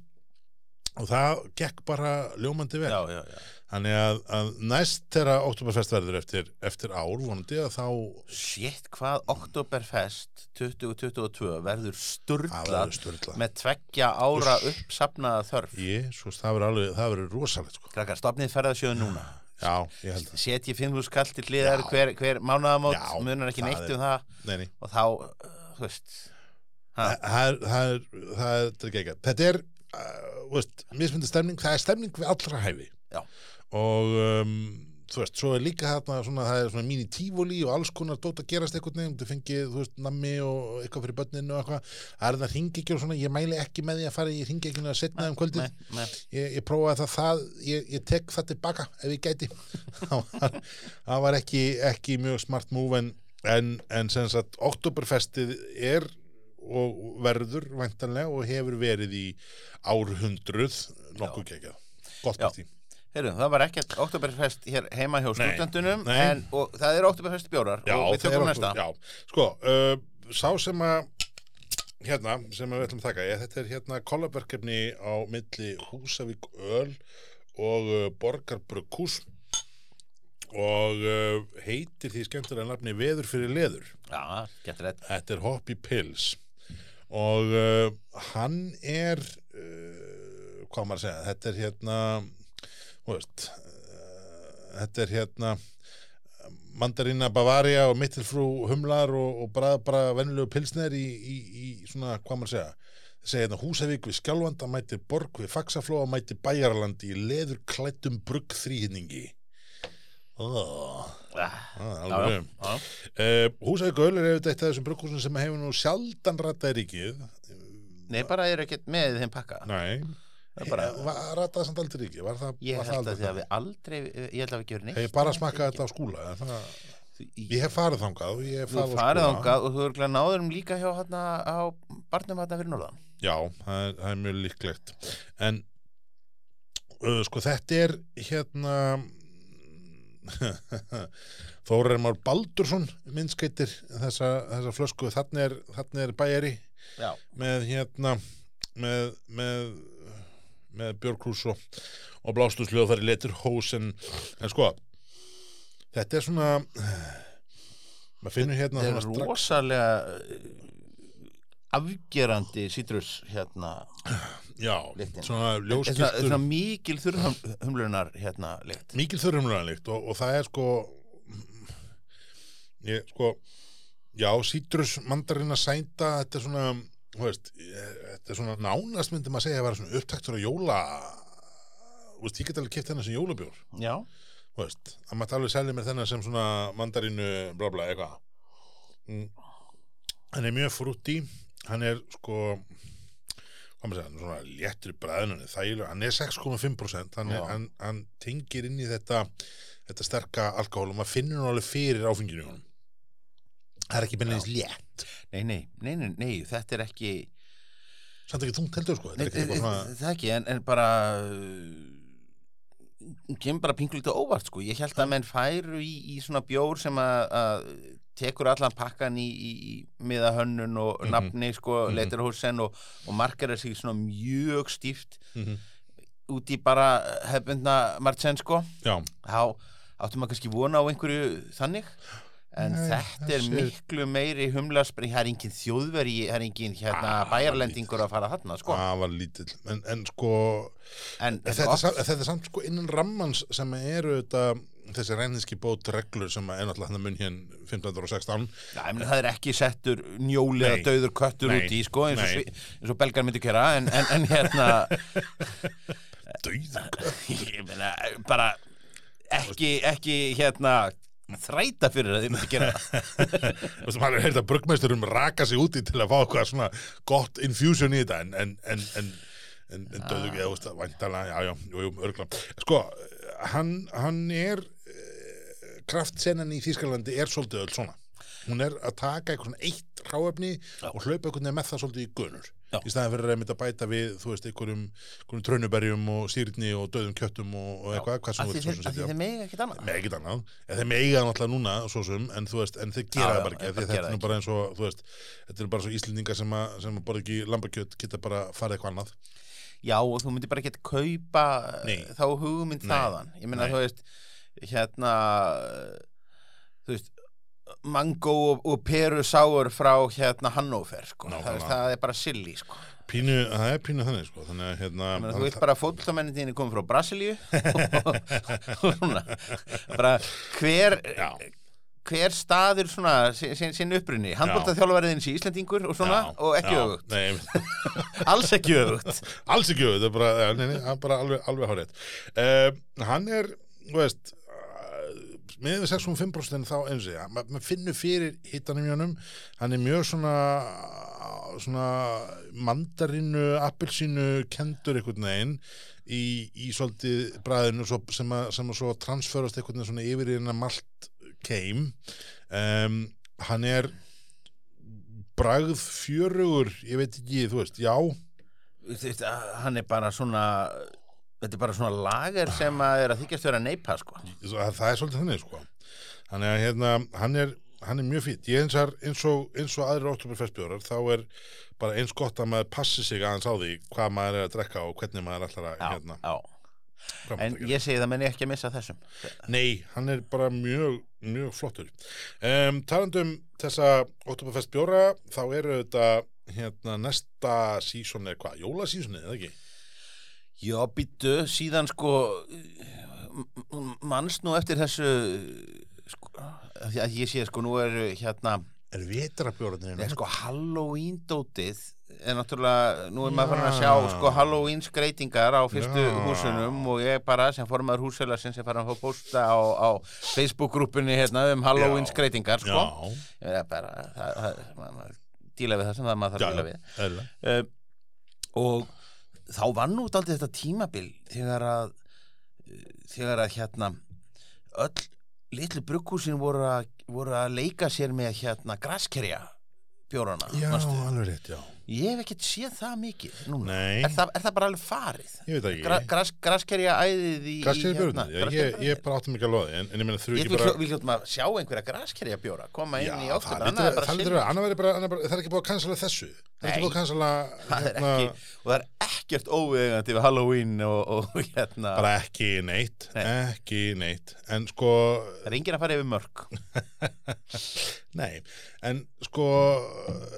Speaker 1: og það gekk bara ljómandi vel
Speaker 2: já, já, já
Speaker 1: Þannig að, að næst þegar Oktoberfest verður eftir, eftir ár vonandi að þá
Speaker 2: Shit, hvað Oktoberfest 2022 verður
Speaker 1: að
Speaker 2: sturglað
Speaker 1: verður störla.
Speaker 2: með tveggja ára uppsapnaða þörf
Speaker 1: Jésús, það verður alveg, það verður rosalegt sko.
Speaker 2: Krakkar, stopnið ferðasjóðu núna
Speaker 1: Já, ég held það.
Speaker 2: Setji 5.000 kall til hliðar
Speaker 1: Já.
Speaker 2: hver, hver mánaðamót,
Speaker 1: Já,
Speaker 2: munar ekki
Speaker 1: það
Speaker 2: neitt
Speaker 1: er-
Speaker 2: um það
Speaker 1: Nei, nei.
Speaker 2: og þá, uh, þú veist
Speaker 1: Það það er, það er, það er, það er geggjað. Þetta er, uh, veist, mismyndi stemning, það er stemning við allra hæfi.
Speaker 2: Já.
Speaker 1: Og um, þú veist, svo er líka þarna svona, það er svona mín í tífóli og alls konar dót að gerast eitthvað nefn, þú fengið, þú veist, nammi og eitthvað fyrir börninu og eitthvað, það er það hringi ekki og svona, ég mæli ekki með því að fara í hringi ekki að setna um kvöldið,
Speaker 2: Nei, nei.
Speaker 1: ég, ég prófaði það það, ég, ég tek það tilbaka ef ég gæti, það var, það var ekki, ekki mjög smart move en, en, en sem sagt, oktoberfestið er og verður væntanlega og hefur verið í árhundruð nokkuð kekjað, gott
Speaker 2: Já.
Speaker 1: partí
Speaker 2: Heyrðu, það var ekkert oktoberfest hér heima hjá
Speaker 1: Nei,
Speaker 2: stúdendunum
Speaker 1: nei.
Speaker 2: en, og það er oktoberfest bjórar
Speaker 1: já,
Speaker 2: og við
Speaker 1: það er
Speaker 2: tökum
Speaker 1: okkur-
Speaker 2: næsta
Speaker 1: já. sko, uh, sá sem að hérna, sem að við ætlum að taka ég, þetta er hérna kollabverkefni á milli Húsavík Öl og uh, Borgarbrukús og uh, heitir því skemmtilega nafni Veður fyrir leður
Speaker 2: Já, getur þetta
Speaker 1: þetta er Hoppy Pills og uh, hann er uh, hvað á maður að segja þetta er hérna þú veist, uh, þetta er hérna mandarina Bavaria og mittilfrú humlar og, og bara, bara venjulegu pilsner í, í, í svona, hvað maður að segja segja hérna Húsavík við Skjálfanda mætir Borg við Faxaflóa mætir Bæjarlandi í leður klættum brugg þrýhinningi oh,
Speaker 2: Já,
Speaker 1: alveg
Speaker 2: já, já.
Speaker 1: Uh, Húsavík Öl er auðvitað eitt af þessum brugghúsum sem hefur nú sjaldan rattað ríkið
Speaker 2: Nei, bara er ekkert með þeim pakka
Speaker 1: Nei
Speaker 2: Það er
Speaker 1: bara...
Speaker 2: bara,
Speaker 1: Rattaði samt aldrei ríkið Var það,
Speaker 2: Ég
Speaker 1: var það
Speaker 2: held að
Speaker 1: aldrei
Speaker 2: þið hafi aldrei Ég held að við gefur neitt
Speaker 1: Hef ég bara smakkað þetta á skúla en það, Ég hef farið þangað og Ég hef
Speaker 2: Þú
Speaker 1: farið, á sko.
Speaker 2: farið
Speaker 1: Skúla.
Speaker 2: þangað og þú er glæð náður um líka hjá hérna á barnum hérna fyrir norðan
Speaker 1: Já, það er, það er mjög líklegt En uh, sko þetta er hérna Þórar Már Baldursson minnskeitir þessa, þessa flösku þannig er, þannig er bæjari
Speaker 2: Já,
Speaker 1: með hérna með, með, með Björkrús og, og blástusljóð þar í letur hós en, en sko þetta er svona maður finnur hérna
Speaker 2: það er
Speaker 1: svona strax-
Speaker 2: rosalega eh, afgerandi sítrus hérna
Speaker 1: já,
Speaker 2: lyktin.
Speaker 1: svona
Speaker 2: Þetta er svona, þetta er
Speaker 1: ljóskiltur
Speaker 2: svona mikil þurrhumlunar hérna lykt
Speaker 1: mikil þurrumræðanlíkt og, og það er sko ég sko já, sítrus, mandarina, sænda þetta er svona, þú veist ég, þetta er svona nánast myndi maður segja að vera svona upptaktur á jóla þú veist, ég get alveg kipta hennar sem jólabjór
Speaker 2: Já,
Speaker 1: þú veist, að maður tala við selja mér þennan sem svona mandarínu bla bla eitthvað mm. hann er mjög frútti hann er sko hvað maður segja, hann er svona léttur í bræðinu þægilega, hann er 6,5% hann, er-
Speaker 2: Já.
Speaker 1: hann, hann tengir inn í þetta þetta sterka alkohól og maður finnur hann alveg fyrir áfenginu í honum það er ekki beinleins létt
Speaker 2: nei, nei, nei, nei, nei þetta er ekki
Speaker 1: samt ekki þungt heldur sko, þetta
Speaker 2: Nei, eh,
Speaker 1: er ekki eitthvað svona
Speaker 2: það ekki, en, en bara uh, kemur bara pinglítið óvart sko, ég held að menn færu í, í svona bjór sem að, að tekur allan pakkan í, í, í miðahönnun og
Speaker 1: Mhm.
Speaker 2: nafni sko, mm
Speaker 1: Mhm.
Speaker 2: -hmm. og, og markarar sig svona mjög stíft
Speaker 1: Mhm.
Speaker 2: út í bara hefbundna Martsen sko,
Speaker 1: já,
Speaker 2: þá áttum maður kannski vona á einhverju þannig en
Speaker 1: Nei,
Speaker 2: þetta er
Speaker 1: þessi-
Speaker 2: miklu meiri humlaspring, það er engin þjóðveri það er engin hérna
Speaker 1: Ah,
Speaker 2: bæjarlendingur að fara þarna sko,
Speaker 1: það var lítill en, en sko,
Speaker 2: en
Speaker 1: En
Speaker 2: þetta er
Speaker 1: þetta,
Speaker 2: oft-
Speaker 1: samt, þetta er samt sko innan rammans sem eru þetta þessi reyninski bót reglur sem er náttúrulega hann mun hér um 1516
Speaker 2: Já, ég meina, það er ekki settur njóli
Speaker 1: Nei.
Speaker 2: eða döður köttur
Speaker 1: Nei.
Speaker 2: út í sko, eins, og,
Speaker 1: Nei.
Speaker 2: svi- eins og belgar myndi gera en, en, en hérna
Speaker 1: döður
Speaker 2: ég meina, bara ekki, ekki hérna þræta fyrir að þið myndi gera það.
Speaker 1: maður er heyrt að brugmeisturum raka sig úti til að fá eitthvað svona gott infusion í þetta en, en, en, en, en, en döður
Speaker 2: Ah.
Speaker 1: eða úst, væntala, já, já, jú, jú, örgla sko, hann, hann er eh, kraftsenan í Þýskalandi er svolítið öll svona hún er að taka eitthvað svona eitt ráefni og hlaupa eitthvað með það svolítið í gönur
Speaker 2: Já.
Speaker 1: í staðan fyrir að mynda bæta við þú veist, einhverjum, einhverjum trönuberjum og sýrni og döðum kjöttum og, og eitthvað hvað
Speaker 2: að
Speaker 1: sem þú
Speaker 2: því
Speaker 1: vilt svo
Speaker 2: þeir,
Speaker 1: sem
Speaker 2: að því
Speaker 1: setja.
Speaker 2: þeir megi ekkert annað
Speaker 1: Nei, ekkert annað. En þeir meiga náttúrulega núna, svo sem, en þú veist, en þeir gera
Speaker 2: Já,
Speaker 1: það
Speaker 2: já,
Speaker 1: bara ekki.
Speaker 2: þeir
Speaker 1: af því
Speaker 2: bara
Speaker 1: Þetta
Speaker 2: gera
Speaker 1: er nú
Speaker 2: það
Speaker 1: bara eins og, þú veist, þetta er bara svo íslendingar sem að, sem að borða ekki lambakjöt, geta bara farið eitthvað annað.
Speaker 2: já og þú myndi bara ekkert kaupa eh,
Speaker 1: Nei.
Speaker 2: þá hugmynd
Speaker 1: Nei.
Speaker 2: þaðan ég meina
Speaker 1: Nei.
Speaker 2: þú veist hérna þú veist mango og, og peru sáur frá hérna Hannover sko.
Speaker 1: Nákvæmlega.
Speaker 2: það, veist, það er bara silly sko.
Speaker 1: Pínu, það er pínu þannig, sko, þannig að, hérna,
Speaker 2: Ég meina, þú
Speaker 1: þannig
Speaker 2: vilt bara að fótboltamennin þínu komið frá Brasilíu og og svona bara hver
Speaker 1: Já.
Speaker 2: hver staður svona sin, sin- sinn upprunni, handbóltaþjálfariðins í Íslandingur og svona
Speaker 1: Já,
Speaker 2: og ekki
Speaker 1: já,
Speaker 2: öfugt,
Speaker 1: Nei, einmitt.
Speaker 2: alls ekki öfugt
Speaker 1: alls ekki Eh, öfugt, það er bara, ja, nei, nei, það er bara alveg, alveg hárið. Uh, hann er, þú veist, uh, með 6,5% þá eins og ég, ma- maður finnur fyrir hittanum í honum, hann er mjög svona svona mandarinnu, appelsínu kendur einhvern veginn í, í svolítið bræðinu svo, sem, að, sem að svo transferast einhvern veginn svona yfir í hennar malt keim um, hann er bragð fjörugur ég veit ekki, þú veist, já
Speaker 2: Þetta- hann er bara svona þetta er bara svona lager sem að er að þykjast vera neipa sko
Speaker 1: það, það er svolítið þannig sko þannig að hérna, hann er hann er mjög fýtt, ég eins, er, eins og eins og aðrir oktoberfestbjórar, þá er bara eins gott að maður passi sig aðeins á því hvað maður er að drekka og hvernig maður ætlar að
Speaker 2: já,
Speaker 1: hérna,
Speaker 2: já.
Speaker 1: hvað maður
Speaker 2: en
Speaker 1: að gera.
Speaker 2: ég segi það menn ég ekki að missa af þessum
Speaker 1: Nei, hann er bara mjög, mjög flottur. Um, Tarandum þessa Oktoberfest bjóra, þá eru þetta hérna, næsta sísón eða hvað, jólasísónið, eða ekki?
Speaker 2: já býttu síðan sko manns nú eftir þessu sko, af því að ég sé sko nú eru hérna
Speaker 1: Er vetrabjóraðinu?
Speaker 2: er, sko Halloween dótið er náttúrulega, nú er maður farin að
Speaker 1: Já.
Speaker 2: sjá sko Halloween skreitingar á fyrstu
Speaker 1: Já.
Speaker 2: húsunum og ég bara sem formaður húsela sem sem farin að fá posta á, á Facebook-grúpunni hérna um Halloween
Speaker 1: Já.
Speaker 2: skreitingar sko
Speaker 1: Já,
Speaker 2: Ég er bara, það, það, maður, maður díla við það sem það maður þarf
Speaker 1: já,
Speaker 2: að díla
Speaker 1: já,
Speaker 2: við
Speaker 1: eðlilega.
Speaker 2: uh, og þá vann út aldrei þetta tímabil þegar að eh, þegar að hérna öll litlu brugghúsin voru, að- voru að leika sér með hérna graskerja bjórana
Speaker 1: Já,
Speaker 2: manstu?
Speaker 1: alveg rétt, já.
Speaker 2: ég hef ekkert séð það mikið núna
Speaker 1: Nei,
Speaker 2: er það, er það bara alveg farið
Speaker 1: ég veit það ekki.
Speaker 2: Gra, gras, graskerja æðið í
Speaker 1: Graskerja björnum,
Speaker 2: í,
Speaker 1: já, ég, ég bara áttum ekki að loði en, en ég meina þurfi
Speaker 2: Ég
Speaker 1: ekki
Speaker 2: vil,
Speaker 1: bara
Speaker 2: bara... vil hljóttum að sjá einhverja graskerja bjóra koma inn
Speaker 1: Já,
Speaker 2: í okkur
Speaker 1: það lítur að- það lítur að- annað verður bara- annað bara- það er ekki búið að cancela þessu það er
Speaker 2: Nei.
Speaker 1: ekki búið að cancela
Speaker 2: það er
Speaker 1: hérna,
Speaker 2: ekki, og það er ekkert óviðegandi við Halloween og, og hérna,
Speaker 1: bara ekki neitt
Speaker 2: Nei.
Speaker 1: ekki neitt en sko,
Speaker 2: það er enginn að fara yfir mörg
Speaker 1: nei en sko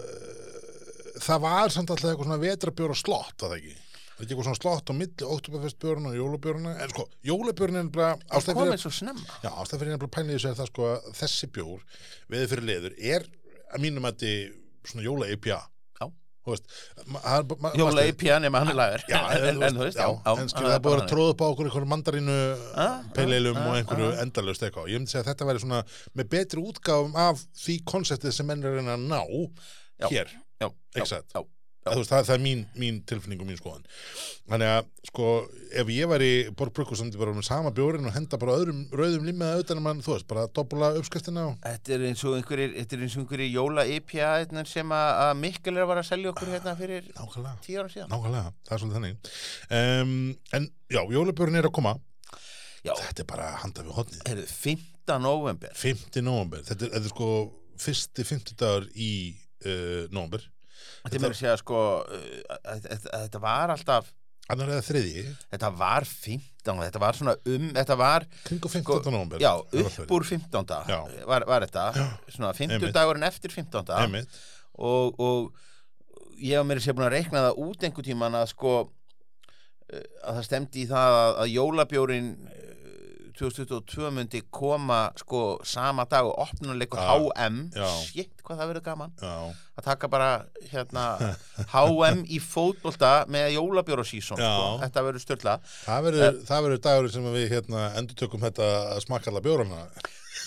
Speaker 1: eh, það var samt alltaf eitthvað svona vetrabjóra slott, var það ekki Það er ekki eitthvað svona slott á milli oktoberfestbjörn og jólabjörna en sko, jólabjörn er bara ástæð fyrir að
Speaker 2: komið svo snemma
Speaker 1: Já, ástæðan fyrir nefnilega pælið þessu er það sko að þessi bjór, veðið fyrir leður, er að mínum að þetta svona jóla IPA.
Speaker 2: Já.
Speaker 1: Þú veist, ma- það er bara... ma-
Speaker 2: Jóla í
Speaker 1: maður-
Speaker 2: pjani með hann er lagur
Speaker 1: Já,
Speaker 2: en, en, en þú veist, já, já Ah,
Speaker 1: en skilur það er búið að
Speaker 2: bara
Speaker 1: tróða upp á okkur einhverju mandarínu
Speaker 2: Ah,
Speaker 1: peileilum
Speaker 2: ah,
Speaker 1: og
Speaker 2: ah,
Speaker 1: einhverju
Speaker 2: ah.
Speaker 1: endalaust eitthvað. Ég myndi segja að þetta væri svona með betri útgáfum af því konseptið sem menn er að reyna að ná
Speaker 2: Já.
Speaker 1: hér.
Speaker 2: þannig. já, já,
Speaker 1: Exakt.
Speaker 2: já,
Speaker 1: Þú Veist, það, það er mín, mín tilfinning og mín skoðan þannig að sko ef ég var í borbrukku samt ég bara með sama bjórin og henda bara öðrum rauðum límiða utan að mann þú veist bara doppula uppskriftina og
Speaker 2: Þetta er eins og einhverjir, þetta er eins og einhverjir jóla IPA hérna, sem að að Mikkel er að vara að selja okkur hérna fyrir
Speaker 1: nákvæmlega,
Speaker 2: tíu ára síðan.
Speaker 1: nákvæmlega, það er svolítið þannig um, en já, jólabjórin er að koma
Speaker 2: Já,
Speaker 1: þetta er bara að handa við hodnið
Speaker 2: heyrðu, 5. november,
Speaker 1: 5. november, þetta er, þetta er sko fyrsti 50 dagur í uh, november,
Speaker 2: þetta er mér að segja sko, uh, að- að- að þetta var alltaf,
Speaker 1: annar eða þriðji
Speaker 2: þetta var 15, þetta var svona um, þetta var
Speaker 1: kring og 15.
Speaker 2: Sko,
Speaker 1: november
Speaker 2: Já, upp úr 15.
Speaker 1: Já.
Speaker 2: Var, var þetta, svona 50
Speaker 1: einmitt.
Speaker 2: dagurinn eftir 15.
Speaker 1: Einmitt,
Speaker 2: Og, og ég hef mér sér búin að reikna það út einhver tíman að sko eh, að það stemdi í það að, að uh, jólabjórin 2022 myndi koma sko sama dag og opnuleikur
Speaker 1: Já,
Speaker 2: HM
Speaker 1: já.
Speaker 2: shit hvað það verður gaman
Speaker 1: já,
Speaker 2: að taka bara hérna HM í fótbolta með jólabjórasíson sko.
Speaker 1: Já.
Speaker 2: þetta verður störla
Speaker 1: það verður,
Speaker 2: Eh.
Speaker 1: það verður dagur sem við hérna endur tökum þetta smakkalla bjórana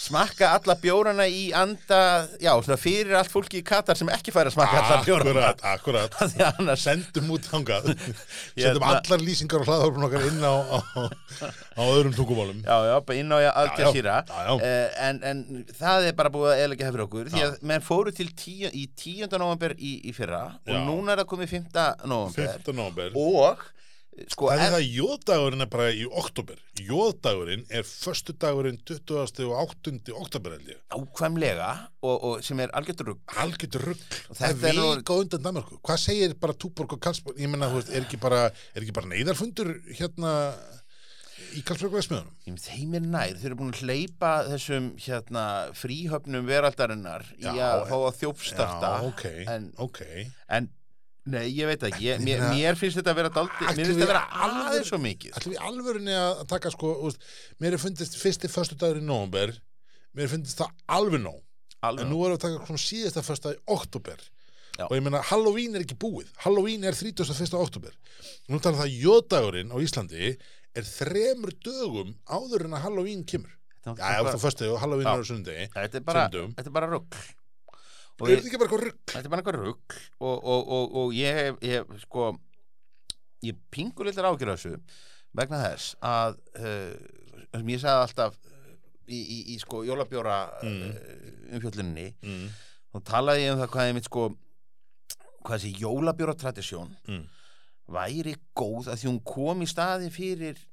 Speaker 2: smakka alla bjórana í anda já, svona fyrir allt fólki í Katar sem ekki fær að smakka alla bjórana
Speaker 1: Akkurat, akkurat
Speaker 2: því að annars
Speaker 1: Sendum út þangað Sendum
Speaker 2: Hérna.
Speaker 1: allar lýsingar og hlaðhorfum okkar inn á, á, á öðrum tungumálum
Speaker 2: já, já, bara inn á Al
Speaker 1: Já, já.
Speaker 2: Jazeera
Speaker 1: Já, já.
Speaker 2: Eh, en, en það er bara búið að eðlega hefur okkur því að menn fóru til tíu, í 10. november í, í fyrra
Speaker 1: Já.
Speaker 2: og núna er það komið 5. november
Speaker 1: 15. november
Speaker 2: og eh, sko,
Speaker 1: Það er
Speaker 2: ef-
Speaker 1: það að jóðdagurinn er bara í oktober Jóðdagurinn er föstudagurinn 20. og 8. oktober held ég
Speaker 2: ákvæmlega og, og sem er algjörður
Speaker 1: Algjörð rugg
Speaker 2: Og þetta
Speaker 1: Það er
Speaker 2: er nú-
Speaker 1: vika á undan Danmarku Hvað segir bara Túborg og Karlsborg Ég menna, þú veist, er ekki bara, er ekki bara neyðarfundur hérna í Karlsborg og Vestmiðunum
Speaker 2: þeim er nær, þeir eru búin að hleypa þessum hérna fríhöfnum veraldarinnar í
Speaker 1: Já,
Speaker 2: að
Speaker 1: en-
Speaker 2: fá að þjófstarta
Speaker 1: Já, ok,
Speaker 2: en
Speaker 1: ok
Speaker 2: En, nei, ég veit ekki, ég, mér,
Speaker 1: meina-
Speaker 2: mér finnst þetta að vera daldi, mér
Speaker 1: Ætlum
Speaker 2: finnst
Speaker 1: við
Speaker 2: þetta að vera
Speaker 1: alveg-
Speaker 2: aðeins svo mikið.
Speaker 1: Ætlum við í alvörunni að að taka sko, úst, mér er fundist fyrsti föstudagur í nóvember, mér er fundist það alveg nóg, en
Speaker 2: Alveg,
Speaker 1: nú erum við að taka svona síðasta föstudag í oktober
Speaker 2: Já.
Speaker 1: og ég meina Halloween er ekki búið, Halloween er 31. oktober, nú talar það jóðdagurinn á Íslandi er þremur dögum áður en að Halloween kemur.
Speaker 2: Þetta
Speaker 1: Já, ef þú
Speaker 2: er bara-
Speaker 1: föstu og Halloween
Speaker 2: Já.
Speaker 1: er á sundi
Speaker 2: þetta er bara,
Speaker 1: Sundum.
Speaker 2: þetta er bara rugg
Speaker 1: Er þetta ekki bara eitthvað rugg?
Speaker 2: þetta er bara einhver rugg og, og, og, og ég hef, ég hef sko ég pingu litur ágjur þessu vegna þess að uh, sem ég sagði alltaf í, í, í sko jólabjóra
Speaker 1: Mm.
Speaker 2: uh, umfjölluninni
Speaker 1: Mm.
Speaker 2: þá talaði ég um það hvað ég mitt sko hvað þessi jólabjóra tradisjón
Speaker 1: Mm.
Speaker 2: væri góð að því hún kom í staði fyrir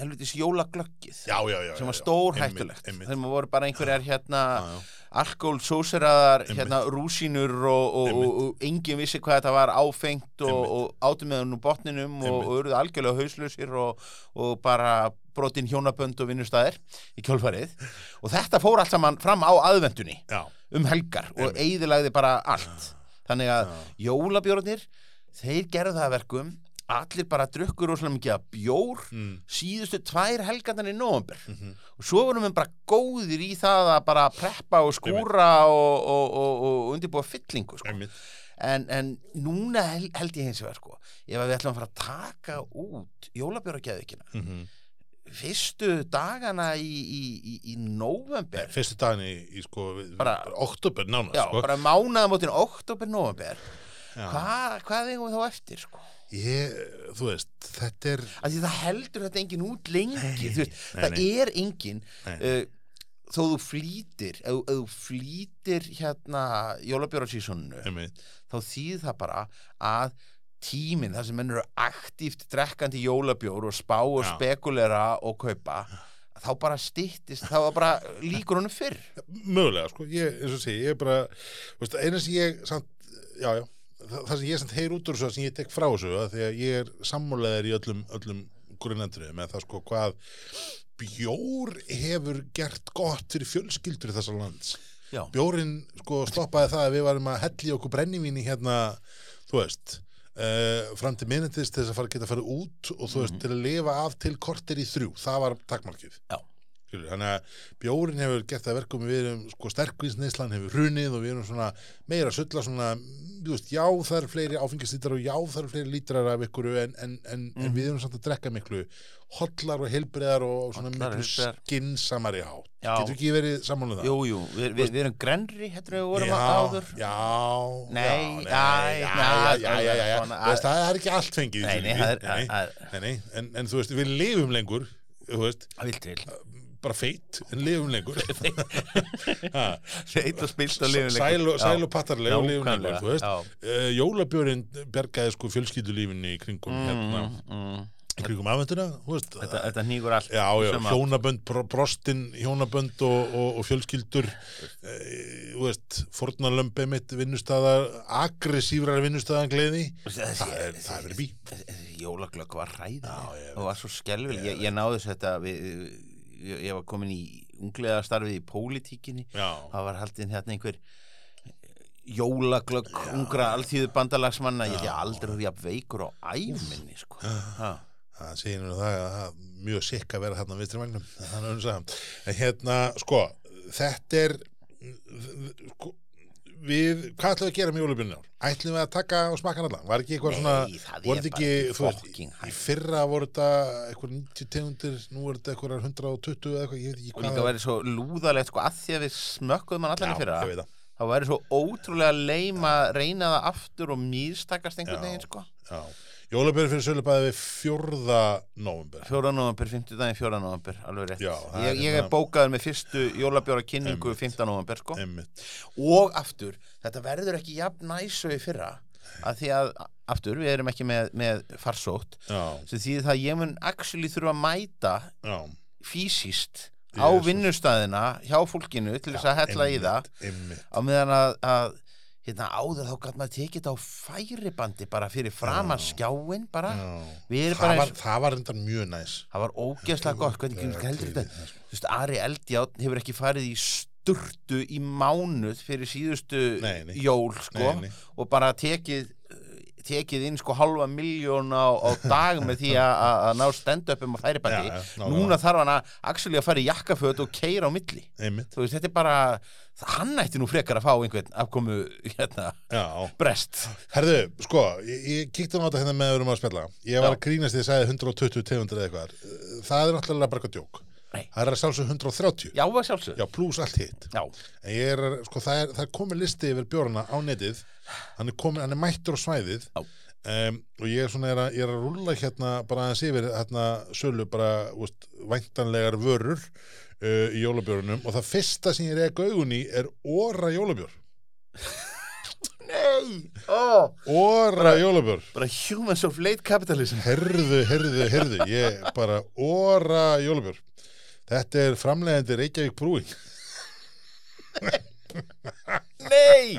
Speaker 2: helvitis jólaglöggið
Speaker 1: Já, já, já
Speaker 2: sem var
Speaker 1: já, já.
Speaker 2: stór
Speaker 1: Einmitt,
Speaker 2: hættulegt
Speaker 1: einmitt.
Speaker 2: þegar maður voru bara einhverjar hérna
Speaker 1: Já, já.
Speaker 2: alkohol sóseraðar
Speaker 1: Einmitt.
Speaker 2: hérna rúsínur og, og,
Speaker 1: Einmitt.
Speaker 2: og, og engin vissi hvað þetta var áfengt og,
Speaker 1: Einmitt.
Speaker 2: og átum með hann úr botninum og,
Speaker 1: Einmitt.
Speaker 2: og eruð algjörlega hauslausir og, og bara brotin hjónabönd og vinnustæðir í kjólfarið og þetta fór allt saman fram á aðvendunni
Speaker 1: Já,
Speaker 2: um helgar og
Speaker 1: Einmitt.
Speaker 2: eigðilagði bara allt þannig að
Speaker 1: já. jólabjórnir
Speaker 2: jólabjórnir þeir gerðu það að verkum allir bara drukkur rosalega mikið að bjór
Speaker 1: mm.
Speaker 2: síðustu tvær helgarnar í november
Speaker 1: Mhm.
Speaker 2: og svo vorum við bara góðir í það að bara preppa og skúra og, og, og, og undirbúa fyllingu sko.
Speaker 1: Einmitt.
Speaker 2: en, en núna hel, held ég hins vegar sko, ef að við ætlum að fara að taka út jólabjörgjaðvikina
Speaker 1: Mhm.
Speaker 2: fyrstu dagana í, í, í, í november
Speaker 1: Fyrstu daginn í, í sko
Speaker 2: Bara-
Speaker 1: Oktober nánast
Speaker 2: já,
Speaker 1: sko.
Speaker 2: bara mánaðamótin oktober, november
Speaker 1: Já.
Speaker 2: Hva, hvað eigum við þá eftir sko?
Speaker 1: Ég, þú veist, þetta er
Speaker 2: að því það heldur þetta engin út lengi
Speaker 1: Nei,
Speaker 2: þú veist,
Speaker 1: nei,
Speaker 2: það
Speaker 1: nei.
Speaker 2: er engin
Speaker 1: Nei.
Speaker 2: uh, þó þú flýtir ef, ef þú flýtir hérna jólabjörgarsísoninu
Speaker 1: einmitt,
Speaker 2: þá þýð það bara að tíminn þar sem menn eru aktíft drekkandi jólabjór og spá og
Speaker 1: Já.
Speaker 2: spekulera og kaupa þá bara styttist, þá bara líkur honum fyrr
Speaker 1: mögulega, sko, ég, eins og sé, ég er bara þú veist, eina sem ég samt, já, já það, það sem ég samt heyr út úr þessu, það sem ég tek frá þessu að því að ég er sammálaðir í öllum öllum grunnendriðum, eða það sko hvað bjór hefur gert gott fyrir fjölskyldur þessar lands
Speaker 2: Já,
Speaker 1: bjórin sko stoppaði það að við varum að hella í okkur brennivíni hérna þú veist uh, fram til minnetist til þess að fara geta að fara út og þú veist
Speaker 2: Mhm.
Speaker 1: til að lifa af til korter í þrjú það var takkmarkið
Speaker 2: Já.
Speaker 1: Skilur, þannig að bjórin hefur gert það að verkum við erum sko sterkvísneislan hefur hrunið og við erum svona meira að sulla svona mm, þú veist, já það eru fleiri áfengislítrar og já það eru fleiri lítrar af ykkur en, en, en,
Speaker 2: Mhm.
Speaker 1: en við erum samt að drekka miklu hollar og helbriðar og svona
Speaker 2: Hollar,
Speaker 1: miklu
Speaker 2: heilbrigðar.
Speaker 1: skinsamari hátt
Speaker 2: Já.
Speaker 1: getur ekki verið sammála um það
Speaker 2: jú, jú, við, við, við erum grenri hérna við vorum áður
Speaker 1: Já,
Speaker 2: Nei,
Speaker 1: já,
Speaker 2: æ,
Speaker 1: já,
Speaker 2: na,
Speaker 1: já, já, já, já.
Speaker 2: svona,
Speaker 1: Þú veist, Það er ekki allt fengið í
Speaker 2: Nei, nei,
Speaker 1: þessu
Speaker 2: það
Speaker 1: lífi. nei,
Speaker 2: er, það er-
Speaker 1: nei, nei, en, en þú veist, við lifum lengur þú veist,
Speaker 2: það vil til
Speaker 1: bara feitt en lifum lengur Ha,
Speaker 2: Eitt og spilt og lifinleik
Speaker 1: sæl og, sæl og pattarleg og lifum lengur þú veist,
Speaker 2: Já,
Speaker 1: uh, jólabjörin bergaði sko fjölskyldulífinni í kringum hérna,
Speaker 2: mm.
Speaker 1: í kringum aðvendina þú veist,
Speaker 2: Þetta, þetta hnígur allt
Speaker 1: Já, já,
Speaker 2: Sem að-
Speaker 1: hjónabönd, bro, brostin hjónabönd og, og, og fjölskyldur e, þú veist, fornalömbe mitt vinnustæðar, aggressífrar vinnustæðan gleði það er, það er verið bí
Speaker 2: Jólaglögg var ræða
Speaker 1: Já, ég
Speaker 2: og var svo skelvileg ég, ég náði þess þetta við, ég, ég var komin í unglega starfið í pólitíkinni
Speaker 1: Já,
Speaker 2: það var haldin hérna einhver jólaglögg ungra alþýðu bandalagsmanna ég hef aldrei verið jafn veikur á æminni sko. Ha.
Speaker 1: það segir nú það að það er mjög sikk að vera þarna á vinstri magnum þannig að sagðum en hérna, sko, þetta er sko, við, hvað ætlum við að gera með jólabjörnir ár? Ætlum við að taka og smakka hann allan? Var ekki eitthvað svona
Speaker 2: Nei, það
Speaker 1: voru
Speaker 2: er
Speaker 1: þetta
Speaker 2: bara
Speaker 1: ekki, þú veist,
Speaker 2: fucking
Speaker 1: í
Speaker 2: hægt
Speaker 1: fyrra voru þetta eitthvað 90 tegundir, nú voru þetta eitthvað 120 eða eitthvað, ég veit ekki
Speaker 2: og
Speaker 1: hvað
Speaker 2: líka verið svo lúðalegt sko, að því að við smökkuðum hann allan í fyrra
Speaker 1: Já, ég veit það,
Speaker 2: það væri svo ótrúlega leim að reyna það aftur og mýrstakast einhvern
Speaker 1: Já.
Speaker 2: veginn sko.
Speaker 1: já. Jólabjörn fyrir sölu bæði við 4. november.
Speaker 2: 4. november, 50 daginn 4. november alveg rétt,
Speaker 1: Já, það er
Speaker 2: ég, ég er
Speaker 1: hérna-
Speaker 2: bókaður með fyrstu jólabjóra kynningu 15. november sko.
Speaker 1: Einmitt.
Speaker 2: og aftur, þetta verður ekki jafn næsu í fyrra, að því að aftur, við erum ekki með, með farsótt
Speaker 1: Já,
Speaker 2: sem því það að ég mun actually þurfa að mæta
Speaker 1: já.
Speaker 2: fysiskt á
Speaker 1: Jesus.
Speaker 2: vinnustæðina hjá fólkinu til þess að hella í það
Speaker 1: Einmitt,
Speaker 2: á meðan að, að hérna áður þá gæt maður tekið þetta á færibandi bara fyrir fram að skjáin bara,
Speaker 1: já.
Speaker 2: við erum
Speaker 1: Það
Speaker 2: bara
Speaker 1: var,
Speaker 2: eins,
Speaker 1: það var reyndar mjög næs.
Speaker 2: það var ógeðslega gott, hvernig hvernig heldur þetta Sko? þú veist, Ari Eldjátt hefur ekki farið í sturtu í mánuð fyrir síðustu
Speaker 1: Nei, nei.
Speaker 2: jól sko,
Speaker 1: Nei, nei.
Speaker 2: og bara tekið tekið inn sko halva miljón á, á dag með því að- að að ná stand-upum á færibandi,
Speaker 1: Já, já, nákvæmlega.
Speaker 2: núna þarf hann að actually að fara í jakkaföt og keira á milli
Speaker 1: Einmitt,
Speaker 2: þú veist, þetta er bara hann ætti nú frekar að fá einhvern afkomu hérna,
Speaker 1: já.
Speaker 2: brest
Speaker 1: Herðu, sko, ég, ég kíkti á þetta hérna með að við erum að spjalla. Ég var
Speaker 2: Já.
Speaker 1: að grínast því að ég sagði 120 tegundir eða eitthvað. Það er náttúrulega bara eitthvað djók.
Speaker 2: Nei.
Speaker 1: það er að sjálfsög 130
Speaker 2: Já, að sjálfsög.
Speaker 1: já, pluss allt hitt
Speaker 2: Já.
Speaker 1: en ég er, að- sko, það er, það er komið listi yfir bjórna á netið hann er, komin, hann er mættur á svæðið
Speaker 2: Já.
Speaker 1: um, og ég er svona, ég er að, ég er að rúlla hérna bara aðeins yfir hérna sölu bara, úst, væntanlegar vörur uh, í jólabjörnum og það fyrsta sem ég reka augun í er óra jólabjör
Speaker 2: Nei, ó.
Speaker 1: óra jólabjör
Speaker 2: Bara humans of late capitalism.
Speaker 1: Herðu, herðu, herðu, ég bara óra jólabjör. Þetta er framlegandi Reykjavík brúing.
Speaker 2: Nei.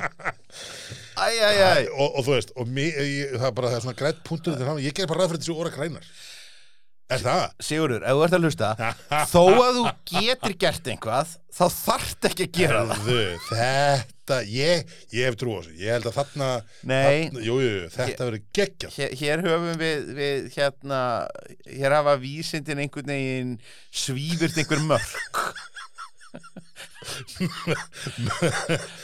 Speaker 2: Æ, æ, æ.
Speaker 1: Og, og þú veist, og mi, ég, það er bara það er svona grætt punktur til hann, ég ger bara ræð fyrir þessu óra grænar. Er það?
Speaker 2: Sigurður, ef þú ert að hlusta, þó að þú getur gert einhvað, þá þarft ekki að gera það.
Speaker 1: Herðu, þetta, ég, ég hef trú á þessu. Ég held að þarna,
Speaker 2: Nei.
Speaker 1: þarna jú, jú, jú, þetta verður geggjað.
Speaker 2: Hér, hér höfum við, við hérna, hér hafa vísindin einhvern veginn svífurt einhver mörk.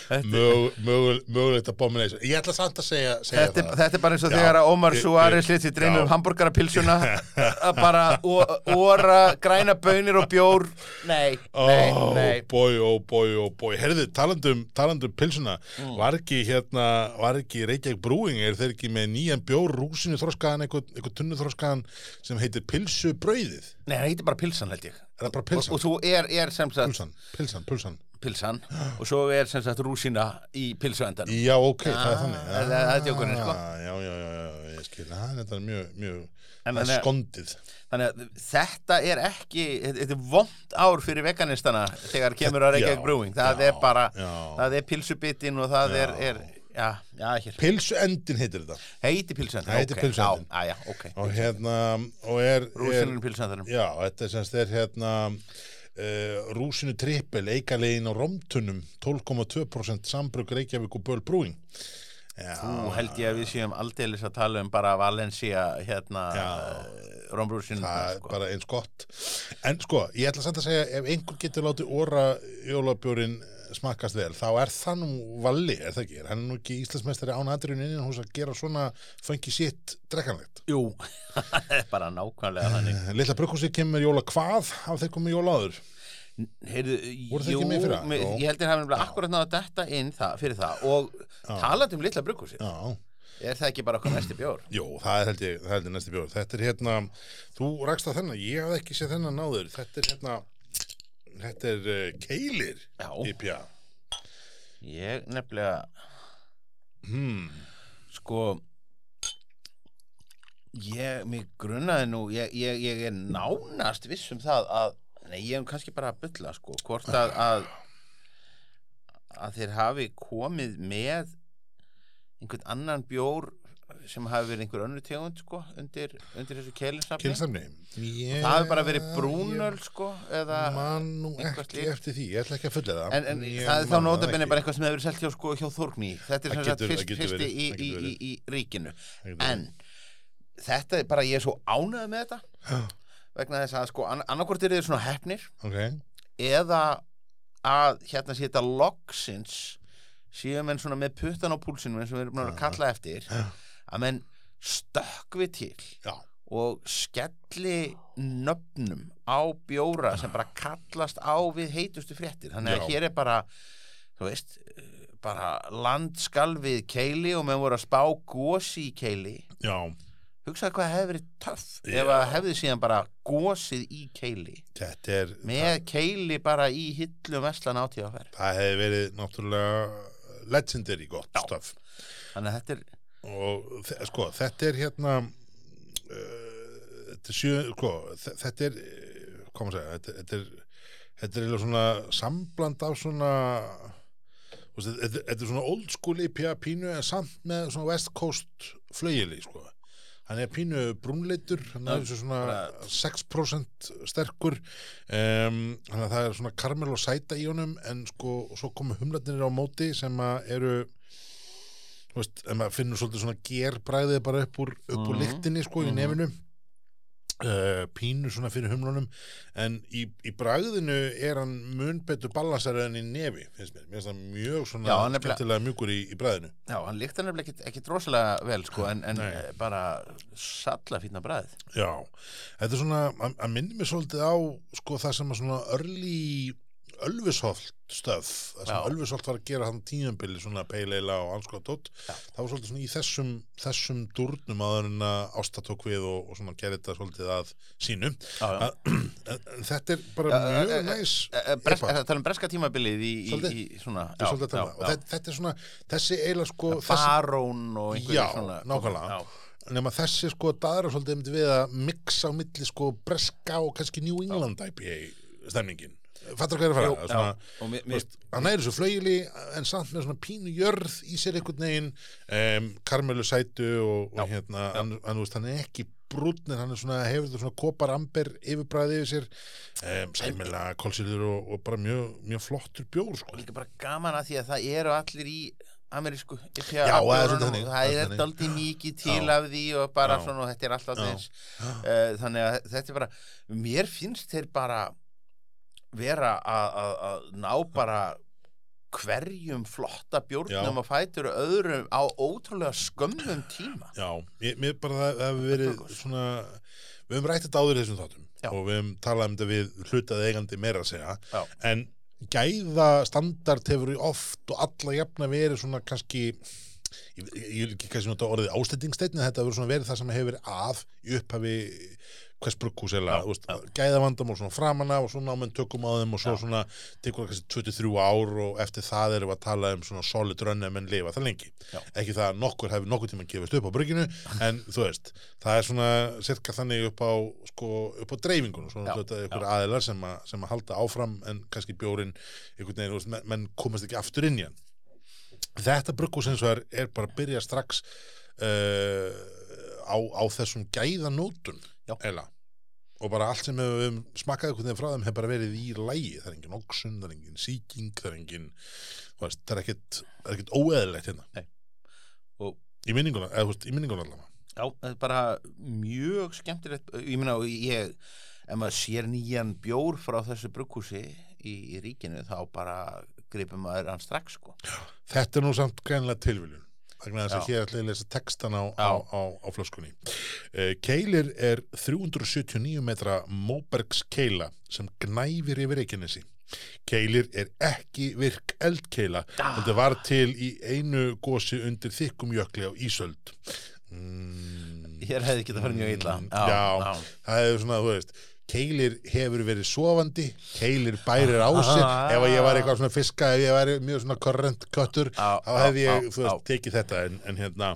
Speaker 1: Mögul- mögul- Mögulegt að bómina þessu. Ég ætla samt að segja, segja
Speaker 2: Þetta, er-
Speaker 1: það.
Speaker 2: þetta er bara eins og
Speaker 1: Já,
Speaker 2: þegar að Ómar
Speaker 1: ég-
Speaker 2: Suárez
Speaker 1: ég-
Speaker 2: lit sér dreinu
Speaker 1: já.
Speaker 2: um hambúrgarapilsuna að bara o- óra græna bönir og bjór. Nei, nei,
Speaker 1: Ó,
Speaker 2: nei.
Speaker 1: bói, ó, bói, ó, bói Herðu, talandum, talandum um pilsuna
Speaker 2: Mm.
Speaker 1: Var ekki hérna, var ekki Reykjavík Brúing, er þeir ekki með nýjan bjór rúsinu þroskaðan, eitthvað, eitthvað tunnu þroskaðan sem heitir pilsubrauðið
Speaker 2: Nei, það heitir bara pilsan held ég.
Speaker 1: Er það bara
Speaker 2: Og,
Speaker 1: pilsan?
Speaker 2: og svo er, er sem sagt
Speaker 1: Pilsan, pilsan, pilsan
Speaker 2: pilsan og svo er sem sagt rúsina í pilsuendan.
Speaker 1: Já, ok, það er þannig
Speaker 2: Ah, það- það er djókurinn, sko.
Speaker 1: Ah, Já, já, já, já, ég skil Það er þetta mjög, mjög,
Speaker 2: En
Speaker 1: það
Speaker 2: þannig
Speaker 1: er
Speaker 2: að-
Speaker 1: skondið
Speaker 2: Þannig að þetta er ekki, þetta þetta er vond ár fyrir veganistana þegar kemur að Reykjavík
Speaker 1: Já,
Speaker 2: Brewing. Það
Speaker 1: já,
Speaker 2: er bara,
Speaker 1: já.
Speaker 2: það er pilsubitin og það er,
Speaker 1: Já.
Speaker 2: er, já, já, hér,
Speaker 1: Pilsuendin heitir þetta
Speaker 2: heiti pilsendin.
Speaker 1: Heiti pilsuendin.
Speaker 2: Já, já, ok.
Speaker 1: Og hérna, og er, er
Speaker 2: Rúsinun pilsendinum.
Speaker 1: Já, þetta er semst er hérna uh, rúsinu trippel eikalegin á romtunum 12,2% sambruk Reykjavík og Böl Brúing Já,
Speaker 2: Nú held ég að við séum aldeilis að tala um bara Valencia, hérna,
Speaker 1: Já.
Speaker 2: Rombrúsinun.
Speaker 1: það er
Speaker 2: sko.
Speaker 1: bara eins gott En sko, ég ætla samt að segja ef einhver getur látið óra jólabjórin eh, smakkast vel, þá er það nú valli, er það ekki, er hann nú ekki Íslandsmeistari án aðriðun innan hús að gera svona fengi sitt drekkanlegt
Speaker 2: Jú, það er bara nákvæmlega þannig.
Speaker 1: Lilla Brukkúsi kemur jóla hvað af þeir komið jóla áður
Speaker 2: Heyrðu,
Speaker 1: Voru það
Speaker 2: jú,
Speaker 1: ekki með í fyrra?
Speaker 2: mér-
Speaker 1: Jú.
Speaker 2: ég held ég hafi nefnilega akkurat náða detta inn það, fyrir það og talandi um litla brugghúsið,
Speaker 1: Já,
Speaker 2: er það ekki bara okkar næsti bjór?
Speaker 1: Jó, það er held ég, það er held ég næsti bjór. Þetta er hérna, þú rakst að þennan, ég hafði ekki séð þennan náður. Þetta er hérna, þetta er uh, keilir
Speaker 2: Já.
Speaker 1: IPA.
Speaker 2: Ég nefnilega
Speaker 1: Hmm.
Speaker 2: sko ég, mig grunnaði nú ég, ég, ég er nánast viss um það að, nei ég er nú kannski bara að bylla sko, hvort að að, að þeir hafi komið með einhvern annan bjór sem hafi verið einhver önnur tegund sko, undir, undir þessu keilinstafni
Speaker 1: Kynstafni. Yeah,
Speaker 2: það hafi bara verið brúnöl sko, eða
Speaker 1: Man nú
Speaker 2: eitthvað
Speaker 1: ekki
Speaker 2: slíkt.
Speaker 1: eftir því, ég ætla ekki að fulla það.
Speaker 2: En, en
Speaker 1: Ég
Speaker 2: það er þá
Speaker 1: man
Speaker 2: nótabenni
Speaker 1: ekki.
Speaker 2: bara eitthvað sem hefur verið selt hjá, sko, hjá Þórgný Þetta er
Speaker 1: Það
Speaker 2: sem sagt
Speaker 1: getur-
Speaker 2: fyrst,
Speaker 1: það getur
Speaker 2: fyrsti
Speaker 1: verið,
Speaker 2: í,
Speaker 1: það
Speaker 2: í,
Speaker 1: getur
Speaker 2: í, í ríkinu
Speaker 1: Það getur
Speaker 2: En þetta er bara, ég er svo ánægð með þetta vegna þess að sko, an annarkvort eru þið svona hefnir
Speaker 1: verið.
Speaker 2: eða að hérna sé þetta loksins séu menn svona með puttan á púlsinum eins og við erum búin að vera að kalla eftir að menn stökkvi til
Speaker 1: Ok, já.
Speaker 2: og skelli nöfnum á bjóra sem bara kallast á við heitustu fréttir þannig að
Speaker 1: Já.
Speaker 2: hér er bara þú veist, eh, bara landskal við keili og menn voru að spá gósi í keili
Speaker 1: Já,
Speaker 2: hugsaðu hvað hefði verið töff
Speaker 1: Já.
Speaker 2: ef að hefði síðan bara gósið í keili
Speaker 1: þetta er,
Speaker 2: með keili bara í hillu veslan átíðaferð
Speaker 1: það hefði verið náttúrulega legendary gott stöf.
Speaker 2: þannig að þetta er
Speaker 1: og þe- sko þetta er hérna uh, þetta er sjö sko, þe- þetta er eh, hvað maður segja þetta, þetta er þetta er eiginlega svona sambland af svona þú veist, þetta, þetta er svona old school IPA pínu en samt með svona west coast flögili sko hann er pínu brúnleitur hann er
Speaker 2: Já,
Speaker 1: þessu svona
Speaker 2: bara-
Speaker 1: 6% sterkur um, þannig að það er svona karmel og sæta í honum en sko og svo komu humlarnir á móti sem að eru þú veist, en maður finnur svolítið svona gerbræðið bara upp úr, upp úr
Speaker 2: Mhm.
Speaker 1: lyktinni sko í
Speaker 2: Mhm.
Speaker 1: nefinu uh, pínu svona fyrir humlunum en í, í bragðinu er hann mun betur balansar en í nefi finnst mér, mér finnst það mjög svona
Speaker 2: Já, hann er ble-
Speaker 1: skemmtilega mjúkur í, í bragðinu
Speaker 2: Já, hann líkti hann ekki, ekki drosalega vel sko, en, en
Speaker 1: Nei.
Speaker 2: eh, bara salla fínna bræð
Speaker 1: já, þetta er svona að, að minni mér svolítið á sko það sem að svona örli Ölvisholt stöð það sem
Speaker 2: Já.
Speaker 1: Ölvisholt var að gera hann tíðanbili svona peileila og anskotótt það var svolítið svona í þessum, þessum durnum áður en að ásta tók við og, og svona gerði þetta svolítið að sínu
Speaker 2: Já, já.
Speaker 1: að, en- en þetta er bara
Speaker 2: Já,
Speaker 1: mjög
Speaker 2: eh, eh,
Speaker 1: næs
Speaker 2: Eh, eh, Bresk,
Speaker 1: epa.
Speaker 2: er það að tala um breska tímabilið í, í,
Speaker 1: Svolítið.
Speaker 2: í svona
Speaker 1: Þetta er svolítið að tala. um og þetta, þetta er svona, þessi eiginlega sko þessi,
Speaker 2: barón og einhverju
Speaker 1: Já,
Speaker 2: svona
Speaker 1: nákvæmlega.
Speaker 2: Já.
Speaker 1: nema þessi sko daðra svolítið einmitt við að mixa á milli sko breska og kannski New England IPA stemningin fattar hvað er að fara
Speaker 2: Jú,
Speaker 1: Það er
Speaker 2: já,
Speaker 1: svona,
Speaker 2: og mér,
Speaker 1: þú
Speaker 2: mér,
Speaker 1: veist, hann er þessu flögili en samt með svona pínu jörð í sér einhvern veginn um, karmelu sætu og, og hérna hann, hann, þú veist, hann er ekki brúnn en hann er svona, hefur þetta svona kopar amber yfirbræði yfir sér um, sæmila, kolsýrður og, og bara mjög, mjög flottur bjór sko.
Speaker 2: líka bara gaman að því að það eru allir í amerísku IPA
Speaker 1: Já, það er
Speaker 2: bjórunum
Speaker 1: svolítið þannig,
Speaker 2: og
Speaker 1: það er
Speaker 2: það er
Speaker 1: þannig.
Speaker 2: daldið mikið til
Speaker 1: Já.
Speaker 2: af því og bara
Speaker 1: Já.
Speaker 2: svona og þetta er alltaf
Speaker 1: Já.
Speaker 2: þess uh, þannig að þetta er bara mér finnst þeir bara vera að- að að ná bara hverjum flotta bjórnum
Speaker 1: Já.
Speaker 2: og fætur öðrum á ótrúlega skömmum tíma
Speaker 1: Já, ég, mér bara það, það hefur verið svona, við höfum rætt þetta áður í þessum þáttum
Speaker 2: Já.
Speaker 1: og við höfum talað um þetta við hlutað eigandi meira að segja
Speaker 2: Já.
Speaker 1: en gæða standart hefur oft og alla jafna verið svona kannski ég ég vil ekki kannski nota orðið ástendingsteinni þetta hefur svona verið það sem hefur verið að í upphafi hvers brugghús eða þú veist, gæða vandamál svona framan af og svona ámenn tökum á þeim og svo svona tekur það kannski 23 ár og eftir það erum við að tala um svona solid run ef menn lifa það lengi
Speaker 2: Já.
Speaker 1: ekki það að nokkur hefur nokkur tíma gefist upp á brygginu en þú veist, það er svona cirka þannig upp á, sko, upp á dreifingunum svona
Speaker 2: Já.
Speaker 1: þetta er ykkur aðilar sem, að, sem að halda áfram en kannski bjórin einhvern veginn, þú veist, menn- menn komast ekki aftur inn í hann þetta brugghús eins og er, er bara að byrja strax uh, á, á þessum gæðanótum
Speaker 2: Já.
Speaker 1: eila og bara allt sem hefur um, smakkað einhvern veginn frá þeim hefur bara verið í lægi, það er engin oxun, það er engin sýking, það er engin þú veist, það er ekkit, það er ekkit óeðilegt hérna
Speaker 2: Nei. Og-
Speaker 1: í minninguna, eða þú veist, í minninguna allavega
Speaker 2: Já, þetta er bara mjög skemmtilegt ég meina, og ég ef maður sér nýjan bjór frá þessu brugghúsi í, í ríkinu þá bara gripum maður hann strax sko.
Speaker 1: þetta er nú samt greinlega tilviljun vegna þess að
Speaker 2: Já.
Speaker 1: hér ætla ég að lesa textan á, á,
Speaker 2: Já.
Speaker 1: á, á flöskunni Eh, Keilir er 379 metra Móbergs keila sem gnæfir yfir Reykjanesi Keilir er ekki virk eldkeila
Speaker 2: Ah.
Speaker 1: þetta var til í einu gósi undir þykkum jökli á Ísöld mm,
Speaker 2: Hér hefði getað farið mjög illa
Speaker 1: Mm, já. það er svona, þú veist Keilir hefur verið sofandi, Keilir bærir á sig,
Speaker 2: Ah.
Speaker 1: ef að ég var eitthvað svona fiska, ef ég var mjög svona korrent köttur,
Speaker 2: Já,
Speaker 1: þá hefði
Speaker 2: já,
Speaker 1: ég,
Speaker 2: já,
Speaker 1: þú veist, tekið þetta en, en hérna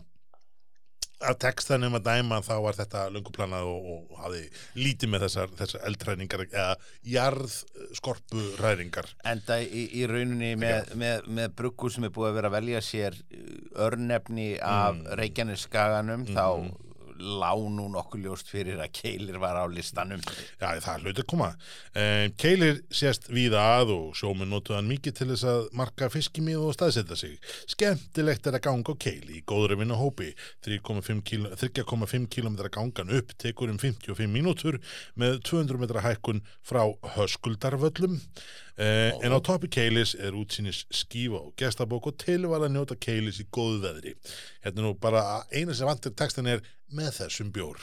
Speaker 1: að textanum að dæma þá var þetta lönguplanað og, og hafði lítið með þessar, þessar eldræningar eða jarðskorpu ræningar
Speaker 2: Enda í, í rauninni með, með, með bruggu sem er búið að vera að velja sér uh, örnefni af mm. Reykjanesskaganum
Speaker 1: Mm.
Speaker 2: þá lá nú nokkuð ljóst fyrir að Keilir var á listanum
Speaker 1: Já, það hluti að koma. Um, keilir sést víða að og sjóminn notuð hann mikið til þess að marka fiskimið og staðsetja sig. Skemmtilegt er að ganga á keili í góðra vinna hópi. 3,5 kíló- 3,5 km gangan upp tekur um 55 mínútur með 200 metra hækkun frá höskuldarvöllum. Uh, en á toppi keilis er útsýnis skífa og gestabók og tilval að njóta keilis í góðu veðri. Hérna er nú bara eina sem vantir textin er með þessum bjór.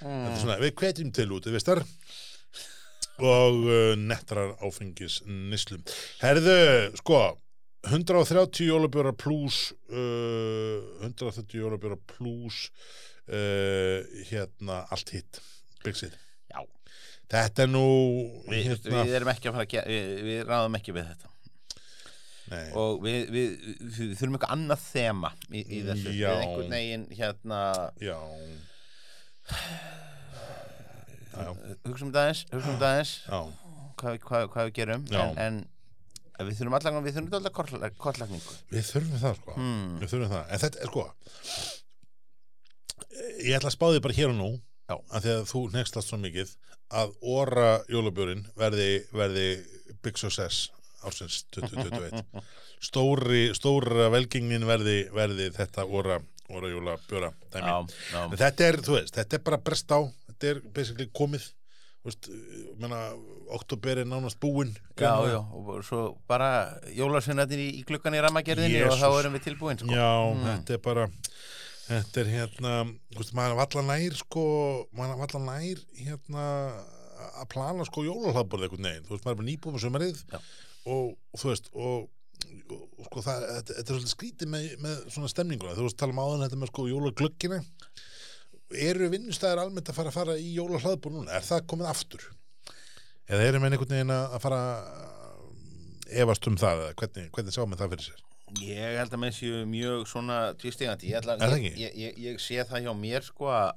Speaker 1: Þetta er
Speaker 2: Mm.
Speaker 1: svona, við hvetjum til út, við starf og uh, nettrar áfengis nýslum. Herðu, sko, 130 jólabjóra plus uh, 130 jólabjóra plus uh, hérna, allt hitt, byggsið.
Speaker 2: Já,
Speaker 1: Þetta er nú,
Speaker 2: við,
Speaker 1: hérna,
Speaker 2: við erum ekki að fara að gera, við, við ráðum ekki við þetta
Speaker 1: nei,
Speaker 2: og við, við, við, við þurfum eitthvað annað þema í, í þessu
Speaker 1: Já.
Speaker 2: við einhvern veginn hérna
Speaker 1: já,
Speaker 2: hugsa um dagins, hugsa um dagins
Speaker 1: já,
Speaker 2: hvað, við- hvað, hvað við gerum
Speaker 1: Já.
Speaker 2: en, en við þurfum allan við þurfum alltaf kortlagningu
Speaker 1: við þurfum það, sko,
Speaker 2: Hmm.
Speaker 1: við þurfum það, en þetta er, sko, ég ætla að spáði bara hér og nú,
Speaker 2: Já.
Speaker 1: að því að þú nexlast svo mikið að óra jólabjórin verði, verði big success ársins 2021 stóri, stóra velgingin verði, verði þetta óra, óra jólabjóra dæmi.
Speaker 2: já, já.
Speaker 1: En þetta er, þú veist, þetta er bara brest á þetta þetta er basically komið Þú veist, ég meina, oktober er nánast búinn
Speaker 2: já, já, og svo bara jólarsinnatir í, í glukkan í ramagerðinni og þá
Speaker 1: Jesús.
Speaker 2: erum við tilbúin sko.
Speaker 1: Já,
Speaker 2: Mm.
Speaker 1: þetta er bara þetta er hérna þú veist, maður vallan nær sko maður vallan nær hérna að plana sko jólahlaðborð einhvern veginn þú veist, maður er bara nýbúið með sömarið
Speaker 2: Já.
Speaker 1: og og þú veist og, og, og sko það, þetta, þetta er svolítið skrítið með, með svona stemninguna, þú veist, tala um áðan þetta með sko jólaglöggina eru vinnustæðar almennt að fara að fara í jólahlaðborð núna, er það komið aftur eða eru menn einhvern veginn að að fara að efast um það eða hvernig, hvernig sjáum við það fyrir sér
Speaker 2: Ég held að með séu mjög svona tvistigandi ég, ætla-
Speaker 1: Er það
Speaker 2: ég,
Speaker 1: ekki?
Speaker 2: ég, ég, ég sé það hjá mér sko að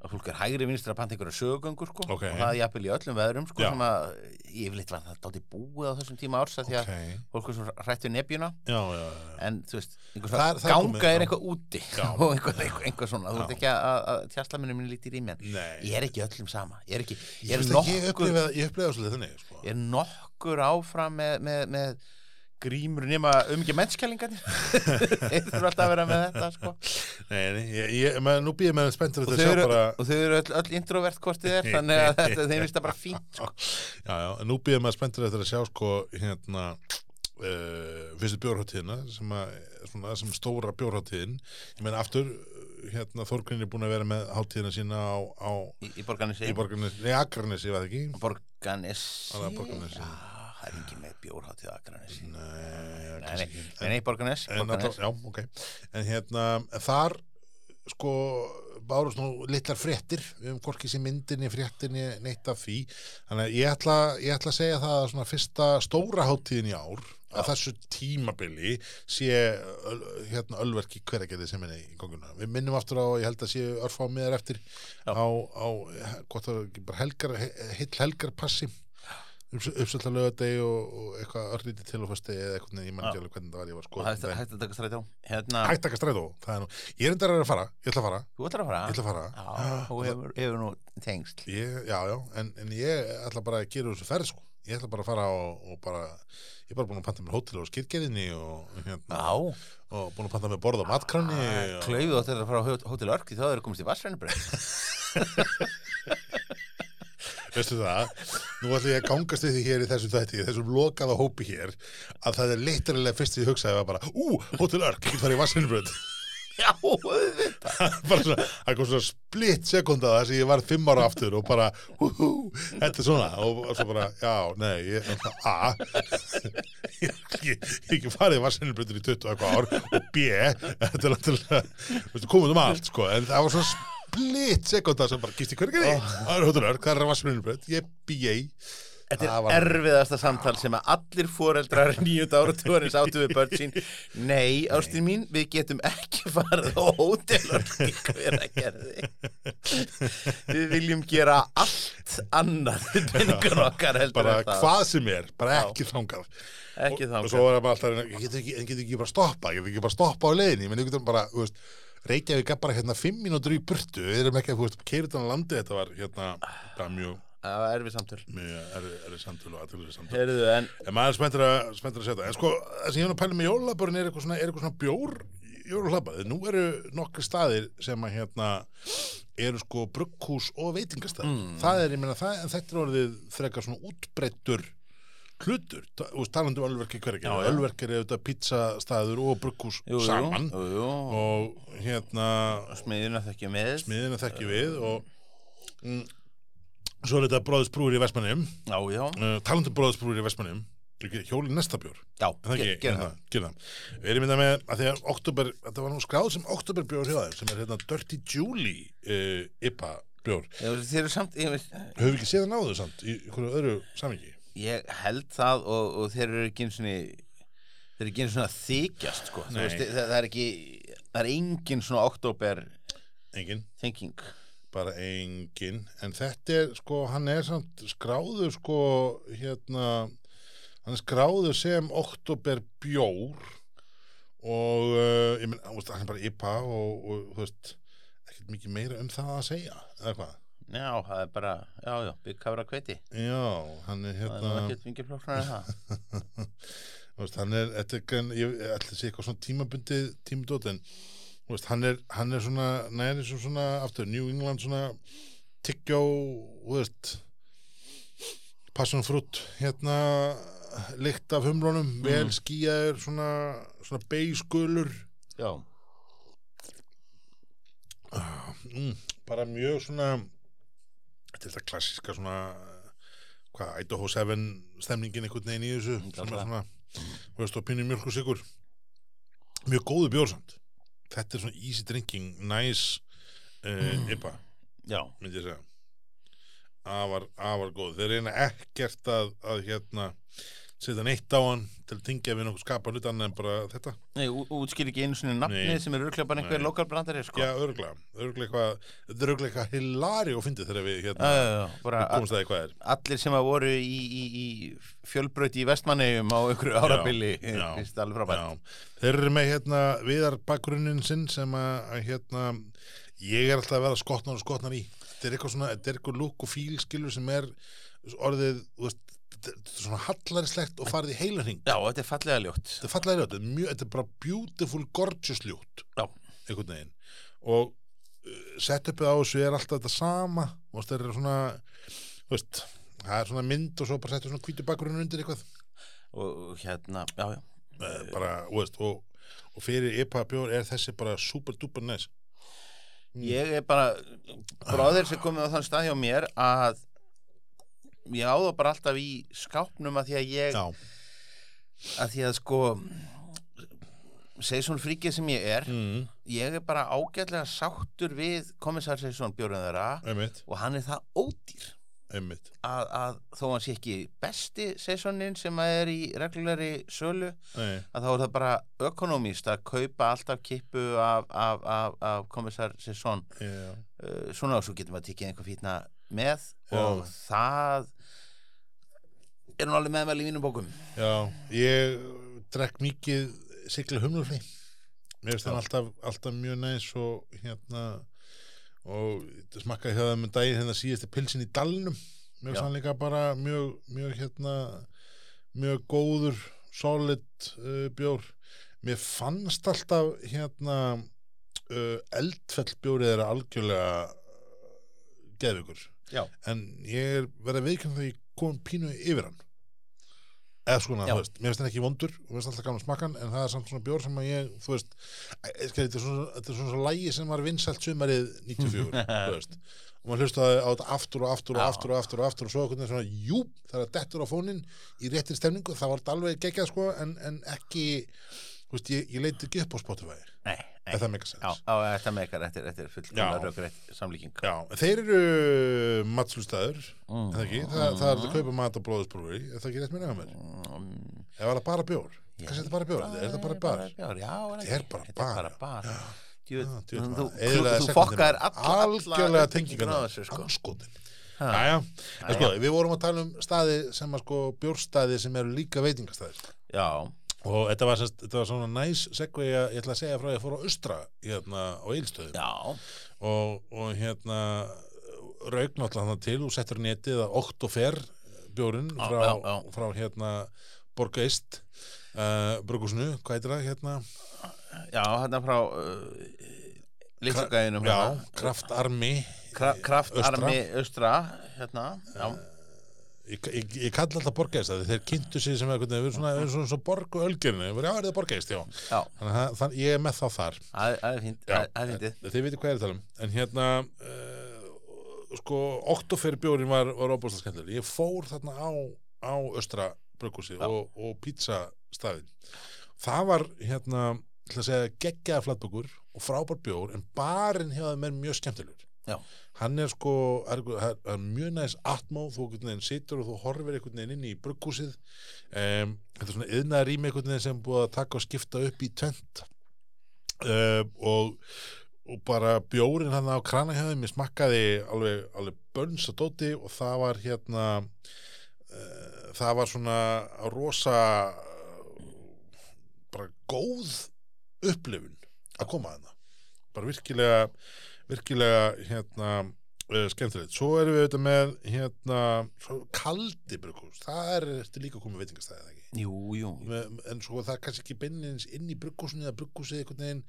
Speaker 2: að fólk er hægri vinstra að panta einhverja sögugöngur sko
Speaker 1: Ok.
Speaker 2: og það er jafnvel í öllum veðrum sko
Speaker 1: Já.
Speaker 2: sem að yfirleitt var það dátti búið á þessum tíma árs af því að
Speaker 1: okay.
Speaker 2: fólk er svo hrættu nebjuna
Speaker 1: já, já, já, já.
Speaker 2: en þú veist, einhver
Speaker 1: Það er-
Speaker 2: svona
Speaker 1: það er komið,
Speaker 2: ganga
Speaker 1: já.
Speaker 2: er eitthvað úti og einhver, einhver, einhver svona,
Speaker 1: Já.
Speaker 2: þú ert ekki að, að- að tjastla minni minni lítið í mér
Speaker 1: Nei,
Speaker 2: ég er ekki öllum sama, ég er ekki
Speaker 1: ég,
Speaker 2: ég er
Speaker 1: veist að ég
Speaker 2: nokkur,
Speaker 1: upplifa, ég upplifa svolítið þannig sko.
Speaker 2: ég er nokkur áfram með, með, með grímur nema umgjum mennskælingarnir þeir þurfa alltaf að vera með þetta sko.
Speaker 1: Nei, nei, ég, ég, maður, nú býðum með spenntur
Speaker 2: og,
Speaker 1: þetta
Speaker 2: þau
Speaker 1: sjá
Speaker 2: eru,
Speaker 1: bara
Speaker 2: og þau eru öll, öll introvert hvort þið er þannig að þetta, þeim finnst það bara fínt sko.
Speaker 1: Já, já, en nú býðum maður spenntur þetta að sjá sko, hérna uh, fyrstu bjórháttíðina sem, að, svona, sem stóra bjórháttíðin ég meina aftur, uh, hérna Þorgrinn er búin að vera með hátíðina sína á, á
Speaker 2: í, í borgarnesi
Speaker 1: í borgarnes, nei, Akranes, ég veit ekki
Speaker 2: borgarnesi
Speaker 1: Á, það er Borgarnesi.
Speaker 2: Já, það er engin með bjórháttið Akranesi nei,
Speaker 1: Nei, já,
Speaker 2: nei,
Speaker 1: kannski ekki.
Speaker 2: nei, nei borgarnes,
Speaker 1: en,
Speaker 2: borgarnes.
Speaker 1: alltaf, já, ok en hérna, þar sko, bárust nú litlar fréttir um hvorki sem myndinni, fréttinni neitt af því, þannig að ég ætla ég ætla að segja það að svona fyrsta stóra hátíðin í ár, að þessu tímabili sé öl- hérna ölverki hveragerði sem minni í ganguna, við minnum aftur á, ég held að séu örfá miðar eftir
Speaker 2: Já.
Speaker 1: á, á gott að bara helgar, heill helgarpassi uppsölda lögadegi og, og eitthvað örlítið til og fyrstegi eða eitthvað, ég man ekki alveg hvernig það var ég var sko
Speaker 2: Og hægt að hægt að taka strætó hérna,
Speaker 1: hægt að strætó, það er nú ég er endar að fara, ég ætla að fara,
Speaker 2: þú ætlar að fara
Speaker 1: ég ætla að fara Ah.
Speaker 2: Já, þú hefur, hefur nú tengsl
Speaker 1: ég, já, já, en, en ég ætla bara að gera þessu ferð sko, ég ætla bara að fara og, og bara, ég er bara búin að panta mér hótel og skirkeriðinni og, hérna,
Speaker 2: Já, Ah,
Speaker 1: og búin að panta mér borð á matkranni og,
Speaker 2: klauðu átt að fara á Hó- Hótel Örki þá eru komist í Vassrænibröð
Speaker 1: veistu það, nú ætla ég að gangast við því hér í þessum þætti, í þessum lokaða hópi hér, að það er liturilega fyrst því ég hugsaði var bara, ú, hótel örk, ég get farið í vassinbröð
Speaker 2: Já, auðvitað
Speaker 1: bara svona, það kom svona splitt sekunda þar sem ég var fimm ára aftur og bara, húhú, þetta er svona og svo bara, já, nei, ég, a ég, ég, ég ekki farið vassinbröður í 20 eitthvað ár og b, þetta er náttúrulega komum um allt, sko, en það var svona splitt sekunda sem bara, gisti hvernig er
Speaker 2: Oh.
Speaker 1: þið? Það er hótel örk, það er vassinbröð, ég bíja
Speaker 2: Þetta
Speaker 1: Það
Speaker 2: er
Speaker 1: var-
Speaker 2: erfiðasta samtal sem að allir foreldrar nýjönda áratúarins áttu við börn sín Nei, ástin mín, við getum ekki farið á Hótel Örki hver að Við viljum gera allt annað við penningar okkar heldur
Speaker 1: bara
Speaker 2: en það.
Speaker 1: hvað sem er, bara ekki þangað
Speaker 2: Ekki
Speaker 1: Og- og
Speaker 2: þangað.
Speaker 1: svo var það bara alltaf að reyna, ég get ekki, en getur ekki bara stoppa ég get ekki bara stoppa á leiðinni, menn ég getur bara þú veist, Reykjavík er bara hérna fimm mínútur í burtu við erum ekki að, þú veist, keiritan á landi þetta var hérna, það var mjög
Speaker 2: Það var erfið samtal
Speaker 1: mjög erfið erfið samtöl og aðtölu samtöl
Speaker 2: Heyrðu, en
Speaker 1: en maður er spenntur að, spenntur að segja það en sko, það sem ég hef að pæla með jólabörin er eitthvað svona, er eitthvað svona bjór jólabörin, nú eru nokkri staðir sem að hérna eru sko brugghús og veitingastæð
Speaker 2: Mm.
Speaker 1: það er, ég meina, það, en þetta er orðið frekar svona útbreittur hlutur, Ta- þú veist, talandi um ölverki
Speaker 2: Já,
Speaker 1: hvergeri,
Speaker 2: já.
Speaker 1: ölverkir eru þetta pizzastaður og brugghús
Speaker 2: jú, jú,
Speaker 1: saman
Speaker 2: jú, jú.
Speaker 1: og hérna
Speaker 2: Smiðina þekkjum við
Speaker 1: miðina
Speaker 2: Eh.
Speaker 1: þekkjum við og mm, svo er þetta bróðisbrúir í Vestmannum
Speaker 2: Já, já,
Speaker 1: uh, talandi um bróðisbrúir í Vestmannum hjóli næsta bjór
Speaker 2: já,
Speaker 1: Er Það
Speaker 2: ge-
Speaker 1: ekki,
Speaker 2: gerum
Speaker 1: hérna, gerum það. Við erum í það með að því að oktober, þetta var nú skráð sem oktoberbjór hjá þeim, sem er hérna Dirty Julie uh, IPA bjór.
Speaker 2: Já, Þeir eru samt, ég, veist,
Speaker 1: Höfum við ekki séð það náðu samt í einhverju öðru samingi?
Speaker 2: ég held það og, og þeir eru ekki einu sinni þeir eru ekki einu sinni að þykjast sko. Þú
Speaker 1: Nei.
Speaker 2: veist, það, það er ekki það er engin svona oktober
Speaker 1: Engin,
Speaker 2: thinking
Speaker 1: bara engin. En þetta er, sko, hann er samt skráður, sko, hérna, hann er skráður sem oktoberbjór og, uh, ég menn, þú veist, hann er bara IPA og, og, þú veist, ekkert mikið meira um það að segja, eða hvað?
Speaker 2: já, það er bara, já, já, byggkafra kveiti
Speaker 1: Já, hann er
Speaker 2: það
Speaker 1: hérna...
Speaker 2: er nú ekkert mingið flóknar en það
Speaker 1: Þú veist, hann er, þetta er grann, ég ætla að sé eitthvað svona tímabundið tímudót en þú veist, hann er, hann er svona, næri svo svona aftur, New England svona tyggjó þú veist passion fruit hérna lykt af humlunum, vel skýjaður svona, svona beiskulur
Speaker 2: já,
Speaker 1: mm, bara mjög svona þetta er þetta klassíska svona hvað, Idaho 7 stemningin einhvern veginn í þessu
Speaker 2: Mm,
Speaker 1: sem er
Speaker 2: klárlega.
Speaker 1: svona, þú veist, og pínu mjölk og sigur mjög góðu bjórsand þetta er svona easy drinking nice uh, IPA
Speaker 2: já,
Speaker 1: myndi ég segja afar, afar góð, þeir reyna ekkert að, að hérna setja neitt á hann til að tingja við nokkuð skapa hlut annað en bara þetta
Speaker 2: nei, ú- útskýr ekki einu svona nafnið
Speaker 1: Nei.
Speaker 2: sem er örglega bara einhver
Speaker 1: Nei.
Speaker 2: lokalbrandari sko.
Speaker 1: já, örglega, örglega eitthvað þetta er örglega eitthvað hilari og fyndið þegar við
Speaker 2: já,
Speaker 1: hérna,
Speaker 2: já, já, bara
Speaker 1: við komumst að því hvað er
Speaker 2: allir sem að voru í, í, í fjölbröyti í vestmannegjum á einhverju árabili
Speaker 1: já,
Speaker 2: finnst það alveg frábært
Speaker 1: Já, þeir eru með hérna viðar bakgrunnin sinn sem að, að hérna ég er alltaf að vera skotnar og skotnar í þetta er eitthvað svona, þetta er eitthvað lúk og fíl skilur sem er orðið þú veist, þetta er svona hallarislegt og farið í heilarhing
Speaker 2: já, þetta er fallega ljótt
Speaker 1: þetta er fallega ljótt, þetta er mjög, þetta er bara beautiful, gorgeous ljótt
Speaker 2: Já.
Speaker 1: einhvern veginn og uh, setupið á þessu er alltaf þetta sama og það er svona þú veist, það er svona mynd og svo bara settur svona hvítu bakgrunnin undir eitthvað
Speaker 2: og hérna, já, já
Speaker 1: Eh, bara, þú veist, og, og fyrir IPA bjór er þessi bara super duper næs
Speaker 2: Mm. ég er bara bróðir sem komið á þann stað hjá mér að ég á það bara alltaf í skápnum að því að ég
Speaker 1: já,
Speaker 2: að því að sko Seison fríkið sem ég er
Speaker 1: mm,
Speaker 2: ég er bara ágætlega sáttur við komissar Seison bjórnum þeirra
Speaker 1: einmitt,
Speaker 2: og hann er það ódýr
Speaker 1: einmitt
Speaker 2: að, að þó hann sé ekki besti Seisonin sem að er í reglulari sölu
Speaker 1: Nei,
Speaker 2: að þá er það bara ökonomist að kaupa alltaf kippu af, af, af, af komissar Seison
Speaker 1: já,
Speaker 2: uh, svona og svo getum við að tekið einhver fítna með
Speaker 1: Já.
Speaker 2: og það er nú alveg meðmæli í mínum bókum
Speaker 1: já ég drekk mikið sigla humlurfri mér finnst
Speaker 2: Já.
Speaker 1: hann alltaf, alltaf mjög næs og hérna og smakkaði hjá það með dagið hérna síðasti pilsin í dalnum mér
Speaker 2: Já.
Speaker 1: finnst hann líka bara mjög, mjög hérna mjög góður solid uh, bjór mér fannst alltaf hérna uh, eldfell bjórið er algjörlega uh, geðvíkur
Speaker 2: Já.
Speaker 1: en ég er verið að veikjum þegar ég kom pínu yfir hann eða svona,
Speaker 2: Já.
Speaker 1: þú veist, mér finnst hann ekki vondur og mér finnst alltaf gaman að smakka hann, en það er samt svona bjór sem að ég, þú veist eh, skil, þetta er svona, þetta er svona svo lægi sem var vinsælt sumarið 94, þú veist og maður hlustaði á þetta aftur og aftur og
Speaker 2: Já.
Speaker 1: aftur og aftur og aftur og svo einhvern veginn svona, jú, það er að dettur á fónin í réttir stemningu, það var þetta alveg geggjað sko, en, en ekki þú veist, ég, ég leiti ekki upp á Spotify
Speaker 2: Nei, nei.
Speaker 1: eða það meika sens
Speaker 2: Já, á, þetta með ykkar, þetta er- þetta er fullkomlega
Speaker 1: Já.
Speaker 2: rökrétt samlíking
Speaker 1: Já, en þeir eru matslustæður
Speaker 2: Mm.
Speaker 1: mm. það, ekki? Þa, það er þetta að kaupa mat á bróðusbrúri er það ekki rétt mér nefnum mér
Speaker 2: Mm,
Speaker 1: ef það er bara bjór, kannski er þetta bara bjór er þetta bara bar
Speaker 2: bjór? Já, er
Speaker 1: Þetta er
Speaker 2: ekki-
Speaker 1: bara
Speaker 2: þetta
Speaker 1: bar.
Speaker 2: bara bar Djú,
Speaker 1: Já,
Speaker 2: þú,
Speaker 1: djöfull
Speaker 2: þú,
Speaker 1: maður. Eyðilega
Speaker 2: þú
Speaker 1: sekundina.
Speaker 2: fokkar alla
Speaker 1: algjörlega
Speaker 2: tengingar
Speaker 1: tengingar
Speaker 2: á þessu sko
Speaker 1: anskotin
Speaker 2: Ha.
Speaker 1: Jæja, en sko, við vorum að tala um staði sem að sko bjórstaði sem eru líka veitingastæðir
Speaker 2: Já,
Speaker 1: og þetta var, sest, þetta var svona næs segvi að ég ætla að segja frá að ég fór á austra hérna á eilstöðum
Speaker 2: já,
Speaker 1: og, og hérna rauk náttúrulega hann til og settur netið að 8 og fer bjórinn
Speaker 2: Já,
Speaker 1: frá,
Speaker 2: já, já.
Speaker 1: frá hérna Borgeist uh, Brugusnu, hvað heitir það hérna
Speaker 2: já, hérna frá uh, Lýsugæðinum
Speaker 1: já, Kraftarmi
Speaker 2: Kra Kraftarmi
Speaker 1: Austra.
Speaker 2: Östra Hérna, já
Speaker 1: Eh. ég, ég, ég kalla alltaf Borgeist að þeir kynntu sig sem eitthvað, við erum svona, svona, svona borg og ölgjörinu, já, er það Borgeist, já
Speaker 2: Já,
Speaker 1: þannig að það- ég er með þá þar
Speaker 2: það það er fínt,
Speaker 1: Já.
Speaker 2: það það er fíntið
Speaker 1: þið veitir hvað ég er að tala um en hérna uh, sko, oktofer bjórin var, var óbúslega skemmtileg ég fór þarna á, á östra brökkúsi
Speaker 2: Já.
Speaker 1: og, og pítsastæðin það var hérna til að segja geggjaða flatbökur og frábær bjór en barinn hefði mér mjög skemmtilegur
Speaker 2: Já.
Speaker 1: hann er sko er, er, er mjög næs atmó þú einhvern veginn situr og þú horfir einhvern veginn inn í brugghúsið um, þetta er svona yðnaða rými einhvern veginn sem er búið að taka og skipta upp í tönt um, og, og bara bjórin hann á kranahjöðum ég smakkaði alveg, alveg bönns og dóti og það var hérna uh, það var svona rosa eh, bara góð upplifun að koma að það bara virkilega virkilega hérna uh, skemmtilegt, svo erum við auðvitað með hérna, svo kaldi brukkús, það er þetta er líka komið veitingastæði eða ekki
Speaker 2: Jú, jú
Speaker 1: Me- en svo það er kannski ekki beinlins inn í brukkúsinu eða brukkúsið einhvern veginn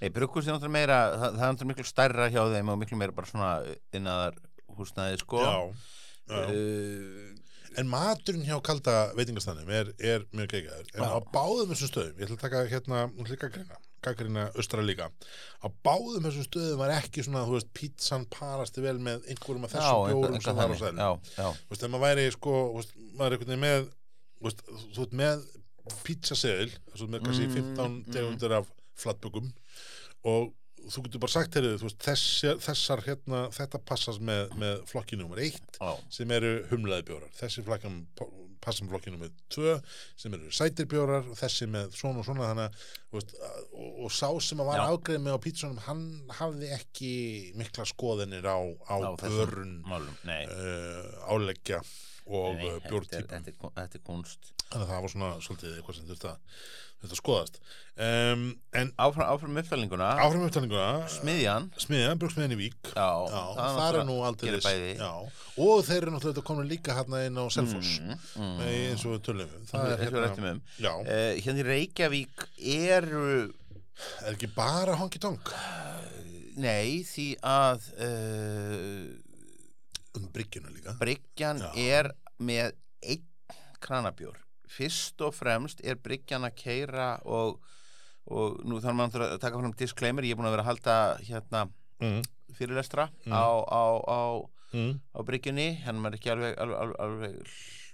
Speaker 2: Nei, brugghúsið er náttúrulega meira, það, það er náttúrulega miklu stærra hjá þeim og miklu meira bara svona innaðar húsnæði sko
Speaker 1: já, já.
Speaker 2: Uh,
Speaker 1: En maturinn hjá kalda veitingastannum er, er mjög geikaður. En
Speaker 2: Já.
Speaker 1: á báðum þessum stöðum, ég ætla að taka hérna, nú ætla ég að gagnrýna, gaggrinna austra líka, á báðum þessum stöðum var ekki svona, þú veist, pizzan parasti vel með einhverjum af þessum
Speaker 2: já,
Speaker 1: bjórum sem var á
Speaker 2: eitthvað- eitthvað þannig.
Speaker 1: sæðinu.
Speaker 2: já,
Speaker 1: Þú veist, ef maður væri, sko, þú veist, maður er einhvern veginn með, þú veist, þú veist, með pizzaseðil, þú veist, með kannski
Speaker 2: Mm,
Speaker 1: 15
Speaker 2: mm.
Speaker 1: tegundir af flatbökum og þú getur bara sagt, heyrðu, þú veist, þessar, þessar hérna, þetta passast með, með flokki nummer 1
Speaker 2: já,
Speaker 1: sem eru humlaði bjórar þessi flakkan passum flokkinu með tvö sem eru sætir bjórar og þessi með svona og svona þannig, að, þú veist, að- og, og sá sem að var
Speaker 2: Já.
Speaker 1: ágreð með á pítsunum hann hafði ekki mikla skoðinir á, á
Speaker 2: Á þessum.
Speaker 1: börn
Speaker 2: málum, nei
Speaker 1: uh, áleggja og
Speaker 2: Nei,
Speaker 1: uh,
Speaker 2: þetta er-
Speaker 1: bjórtípum
Speaker 2: þetta er kon- þetta er kunst
Speaker 1: þannig að það var svona svolítið eitthvað sem þurfti að, þurfti að skoðast um, en
Speaker 2: áfram, áfram uppfælinguna
Speaker 1: áfram upptalninguna
Speaker 2: smiðjan
Speaker 1: smiðan, brugsmiðan í Vík
Speaker 2: já,
Speaker 1: Já, það er nú aldrei
Speaker 2: gerir bæði.
Speaker 1: já, og þeir eru náttúrulega komin líka hérna inn á Selfoss
Speaker 2: Mm, mm.
Speaker 1: Nei, eins og við tölum um.
Speaker 2: Það er hérna rættum um.
Speaker 1: Já,
Speaker 2: Uh, hérna í Reykjavík eru, Eh.
Speaker 1: er ekki bara honky tonk
Speaker 2: nei, því að uh,
Speaker 1: um bryggjuna líka
Speaker 2: Bryggjan
Speaker 1: Já.
Speaker 2: er með einn kranabjór. Fyrst og fremst er Bryggjan að keira og, og nú þarf maður náttúrulega að taka fram disclaimer, ég er búin að vera að halda hérna
Speaker 1: mm.
Speaker 2: fyrirlestra
Speaker 1: Mm.
Speaker 2: á, á, á,
Speaker 1: Mm.
Speaker 2: á Bryggjunni, hann maður er ekki alveg, alveg, alveg, alveg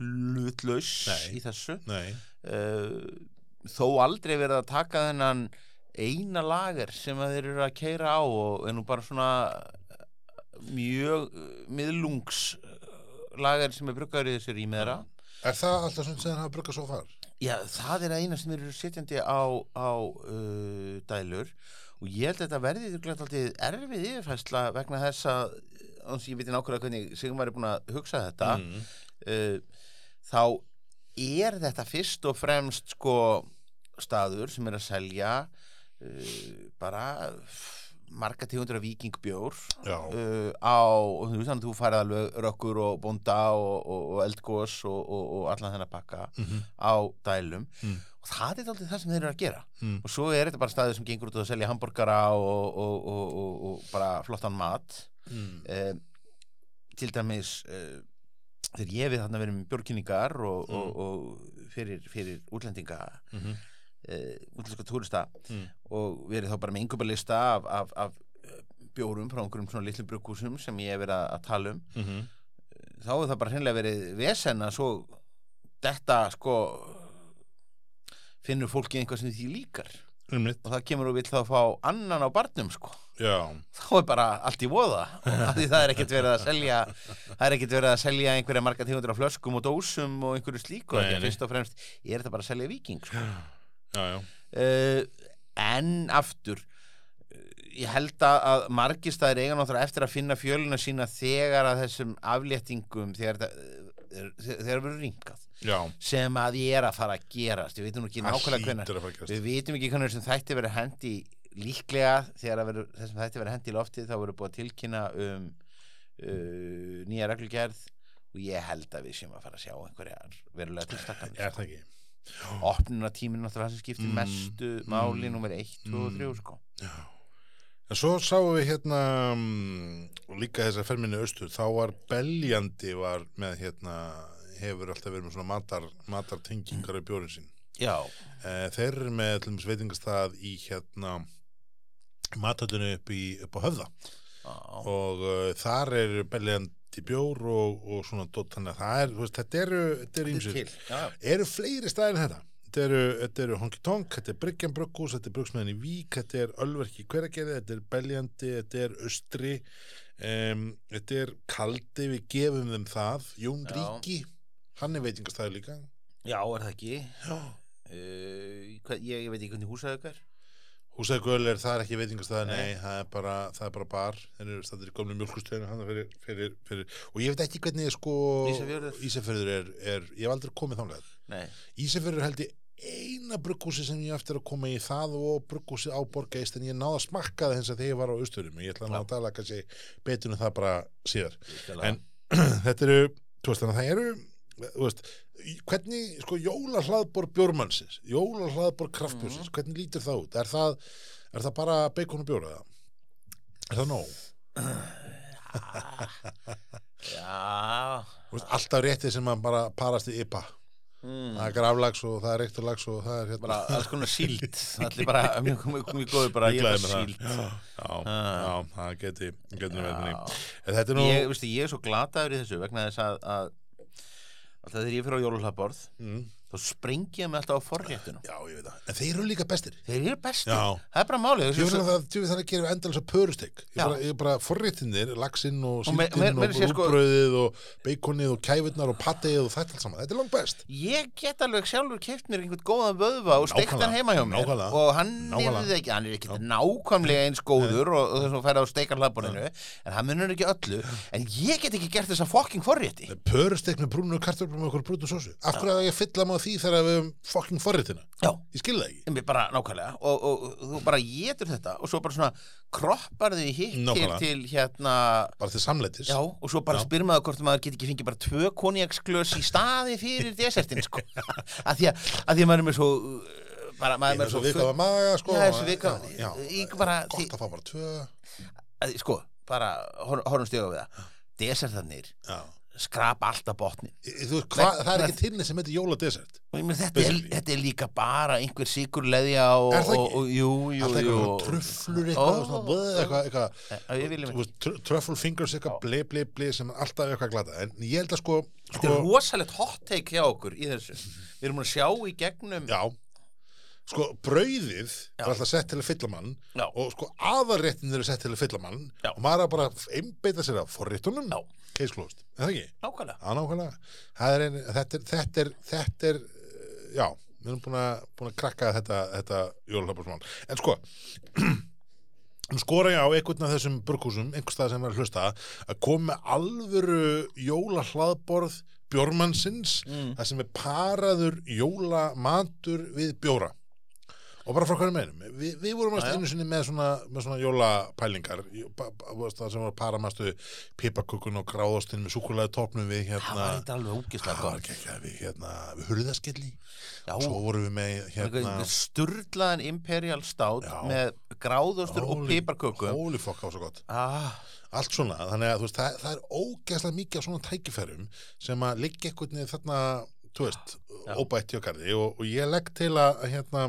Speaker 2: hlutlaus
Speaker 1: Nei.
Speaker 2: í þessu.
Speaker 1: Nei,
Speaker 2: uh, þó aldrei verið að taka þennan eina lager sem að þeir eru að keira á og er nú bara svona eh, mjög eh, miðlungs eh, lager sem er bruggaður í þessu rými þeirra
Speaker 1: er það alltaf svona sem hafa bruggað svo far?
Speaker 2: Já, það er að eina sem þeir eru sitjandi á, á uh, dælur og ég held að þetta verði glætt alltaf erfið yfirfæsla vegna þess að eh, án þess að ég veit nákvæmlega hvernig Sigmar er búin að hugsa þetta
Speaker 1: Mm.
Speaker 2: uh, þá er þetta fyrst og fremst sko staður sem er að selja uh, bara f- marga tegundur af vikingbjór
Speaker 1: Já,
Speaker 2: uh, á, og þú veist þannig að þú færið alveg rökkur og bónda og, og, og eldgós og, og, og allan þennan pakka
Speaker 1: Mhm.
Speaker 2: á dælum
Speaker 1: Mm.
Speaker 2: og það er alltaf það sem þeir eru að gera
Speaker 1: Mm.
Speaker 2: og svo er þetta bara staður sem gengur út og selja hambúrgara og, og, og, og, og bara flottan mat
Speaker 1: Mm.
Speaker 2: eh, til dæmis eh, þegar ég við þarna verið með björkynningar og,
Speaker 1: Mm.
Speaker 2: og, og fyrir, fyrir útlendinga
Speaker 1: Mhm.
Speaker 2: eh, útlenska túrista
Speaker 1: Mm.
Speaker 2: og verið þá bara með yngöparlista af, af, af eh, bjórum frá einhverjum svona litlum brugghúsum sem ég hef verið að, að tala um
Speaker 1: Mhm.
Speaker 2: þá hefur það bara hreinlega verið vesen að svo þetta sko finnur fólki einhvað sem því líkar
Speaker 1: Einmitt.
Speaker 2: og það kemur og vill þá fá annan á barnum sko
Speaker 1: Já,
Speaker 2: þá er bara allt í voða af því það er ekkert verið að selja það er ekkert verið að selja einhverja marga tegundur af flöskum og dósum og einhverju slíku
Speaker 1: Nei,
Speaker 2: Þetta er
Speaker 1: nei.
Speaker 2: fyrst og fremst er þetta bara að selja viking sko.
Speaker 1: já, já
Speaker 2: uh, en aftur uh, ég held að, að margir staðir eiga náttúrulega eftir að finna fjöluna sína þegar að þessum afléttingum þegar þetta uh, er- þegar verður ringað
Speaker 1: Já,
Speaker 2: sem að ég er að fara að gerast ég veit nú ekki nákvæmlega hvenær
Speaker 1: hlýtur að fara að gerast.
Speaker 2: Við vitum ekki hvernig þessum þætti verið hendi líklega þegar að veru, þessum þætti verið hendi í loftið þá verið búið að tilkynna um uh, nýja reglugerð og ég held að við séum að fara að sjá einhverjar verulega tilstakkan
Speaker 1: Er það ekki?
Speaker 2: opnuna tíminn náttúrulega það sem skiptir
Speaker 1: Mm,
Speaker 2: mestu máli
Speaker 1: mm,
Speaker 2: nummer 1, 2 og 3 sko
Speaker 1: En svo sáum við hérna mm, og líka þess að ferminni austur þá var beljandi var með hérna hefur alltaf verið með svona matar, matartengingar í bjórin sín
Speaker 2: Já,
Speaker 1: Eh, Þeir eru með til dæmis veitingastað í hérna matöldinu upp, í, upp á höfða
Speaker 2: á,
Speaker 1: og uh, þar er beljandi bjór og, og svona dótt þannig að það er, þú veist, þetta eru, þetta eru
Speaker 2: til
Speaker 1: ýmsir.
Speaker 2: já,
Speaker 1: Eru fleiri staðir en þetta? Þetta eru, þetta eru Honky Tonk, þetta er Bryggjan Brugghús, þetta er Brugsmiðan í Vík, þetta er Ölverki Hveragerði, þetta er Beljandi, þetta er Östri, um, þetta er Kaldi, við gefum þeim það, Jón
Speaker 2: Já.
Speaker 1: Ríki, hann er veitingastæður líka.
Speaker 2: já, er það ekki
Speaker 1: Já.
Speaker 2: uh, hvað, ég, ég veit ekki hvernig húsaðu er
Speaker 1: Húsæðgöl er það er ekki veitingastæði, nei,
Speaker 2: Nei.
Speaker 1: það, er bara, það er bara bar, þeir eru stættir í gömlu mjölkustöðinu, hann er fyrir, fyrir, fyrir, og ég veit ekki hvernig sko
Speaker 2: Ísafjörður.
Speaker 1: Ísafjörður er, er, ég hef aldrei komið þangað.
Speaker 2: Nei,
Speaker 1: Ísafjörður held ég eina brugghúsi sem ég á eftir að koma í það og brugghúsi á borgeist en ég náða að smakka það hins að þegar ég var á austurum ég ætla nú
Speaker 2: Já.
Speaker 1: að tala kannski betur um það bara síðar
Speaker 2: virkilega.
Speaker 1: En- þetta eru, þú veist þannig að það eru þú veist, í- hvernig sko jólahlaðbor bjórmannsins jólahlaðbor kraftbjórsins,
Speaker 2: Mhm.
Speaker 1: hvernig lítur það út er það, er það bara bacon og bjóra það? er það nóg?
Speaker 2: Já
Speaker 1: Þú veist, alltaf réttið sem að bara parast í IPA
Speaker 2: mm.
Speaker 1: það er graflags og það er reykturlags og það er
Speaker 2: Bara
Speaker 1: hérna
Speaker 2: alls konar síld Allir bara, mjög komið komi góður bara Ég er
Speaker 1: Ég
Speaker 2: bara
Speaker 1: gleði mér
Speaker 2: síld
Speaker 1: það. já,
Speaker 2: Ah.
Speaker 1: já, það geti, geti nú
Speaker 2: Já.
Speaker 1: verið ný en þetta er nú
Speaker 2: ég, veistu, ég er svo glataður í þessu vegna þess að, að Alltaf þegar ég fyrir á jólulaborð
Speaker 1: mm,
Speaker 2: Þá sprengi ég mig alltaf á forréttunum
Speaker 1: já, ég veit það, en þeir eru líka bestir
Speaker 2: Þeir eru bestir
Speaker 1: Já.
Speaker 2: Það er bara málið
Speaker 1: ég
Speaker 2: þú
Speaker 1: finn
Speaker 2: veist,
Speaker 1: að það, djú, það gerir endalins að pörusteg ég
Speaker 2: Já.
Speaker 1: bara, ég bara forréttinir, laxinn og
Speaker 2: Og me- me-
Speaker 1: síldinn
Speaker 2: meira
Speaker 1: og
Speaker 2: að segja, sko-
Speaker 1: rúbröðið og beikonið og kæfurnar og pateið og þetta allt saman, þetta er langt best
Speaker 2: Ég get alveg sjálfur keft mér einhvern góðan vöðva og steikt hann
Speaker 1: Nákvæmlega,
Speaker 2: heima hjá mér
Speaker 1: nákvæmlega,
Speaker 2: og hann
Speaker 1: nákvæmlega.
Speaker 2: er ekki, hann er ekki nákvæmlega eins góður og, og þess að færa á steikarlaborinu en hann munur ekki öllu en ég get ekki gert þessa fokking forrétti
Speaker 1: pörusteg með brúnu kartöflum og okkur brúnu sósu af hverju að ég fylla maður því þegar við höfum fucking forréttina,
Speaker 2: Já,
Speaker 1: ég skil það ekki
Speaker 2: Einmitt bara nákvæmlega og, og, og þú bara getur þetta og svo bara svona kroppar því hitt til,
Speaker 1: Nákvæmlega.
Speaker 2: til hérna
Speaker 1: bara til samleitis
Speaker 2: já og svo bara
Speaker 1: Já.
Speaker 2: spyr maður hvort maður getur ekki fengið bara tvö konjaksglös í staði fyrir desertin sko að því að, að því að maður er með svo uh, bara
Speaker 1: ég
Speaker 2: maður
Speaker 1: er
Speaker 2: er með
Speaker 1: svo
Speaker 2: svo
Speaker 1: vikað að maga sko,
Speaker 2: Já, þessu vikað-
Speaker 1: já, já,
Speaker 2: ég bara-
Speaker 1: gott að fá bara tvö
Speaker 2: að, sko bara hor, horfum stjóða við það desertarnir
Speaker 1: já
Speaker 2: skrapa alltaf botnin
Speaker 1: Í- Þú veist, hva, það er ekki tilni sem heitir jóladesert
Speaker 2: og ég meina þetta, er,
Speaker 1: Basically.
Speaker 2: þetta er líka bara einhver sigurleðja og,
Speaker 1: Er það ekki?
Speaker 2: og, og, og jú, jú,
Speaker 1: Alltaf
Speaker 2: jú
Speaker 1: eitthvað tröflur eitthvað,
Speaker 2: Ó.
Speaker 1: oh. svona, bleh, eitthvað, eitthvað
Speaker 2: Að ég viljum
Speaker 1: þú veist, tr- Truffle fingers eitthvað, ble, ble, ble sem er alltaf eitthvað glata En ég held að sko,
Speaker 2: Þetta
Speaker 1: sko
Speaker 2: er rosalegt hot take hjá okkur í þessu. Við erum búin að sjá í gegnum
Speaker 1: Já Sko, brauðið er alltaf sett til að fylla mann
Speaker 2: Já.
Speaker 1: og sko, aðarréttin eru sett til að fylla mann
Speaker 2: Já.
Speaker 1: og maður er að bara einbeita sér af forréttunum
Speaker 2: Já.
Speaker 1: Case closed, er það ekki?
Speaker 2: nákvæmlega.
Speaker 1: Já, nákvæmlega Það er ein, þetta, er, þetta, er, þetta er uh, Já, við erum búin að, búin að krakka þetta, þetta jólahlaupasmál En sko nú skora ég á einhvern af þessum burkúsum einhvers stað sem er að hlusta að koma með alvöru jólahlaðborð bjórmannsins
Speaker 2: Mm.
Speaker 1: það sem er paraður jólamatur við bjóra og bara frá hverju meinum Vi, við vorum
Speaker 2: Já,
Speaker 1: alltaf
Speaker 2: já.
Speaker 1: einu sinni með svona, með svona jólapælingar jó- ba- ba- þú veist, það sem var paramastu pipakökun og gráðostinn með súkulega topnum við
Speaker 2: Það var
Speaker 1: hérna
Speaker 2: þetta alveg ógislega
Speaker 1: það var
Speaker 2: gott.
Speaker 1: ekki ekki að við hérna við hurðaskilli
Speaker 2: Já,
Speaker 1: svo vorum við með hérna
Speaker 2: hérna. sturlaðan imperial stát
Speaker 1: Já.
Speaker 2: með gráðostur og
Speaker 1: Holy-
Speaker 2: piparkökum.
Speaker 1: holy fuck, það var svo gott
Speaker 2: Ah,
Speaker 1: allt svona, þannig að þú veist, það, það er ógeðslega mikið af svona tækifærum sem að liggja einhvern veginn þarna, þú veist
Speaker 2: Já.
Speaker 1: óbætt hjá garði og, og ég legg til að að, hérna,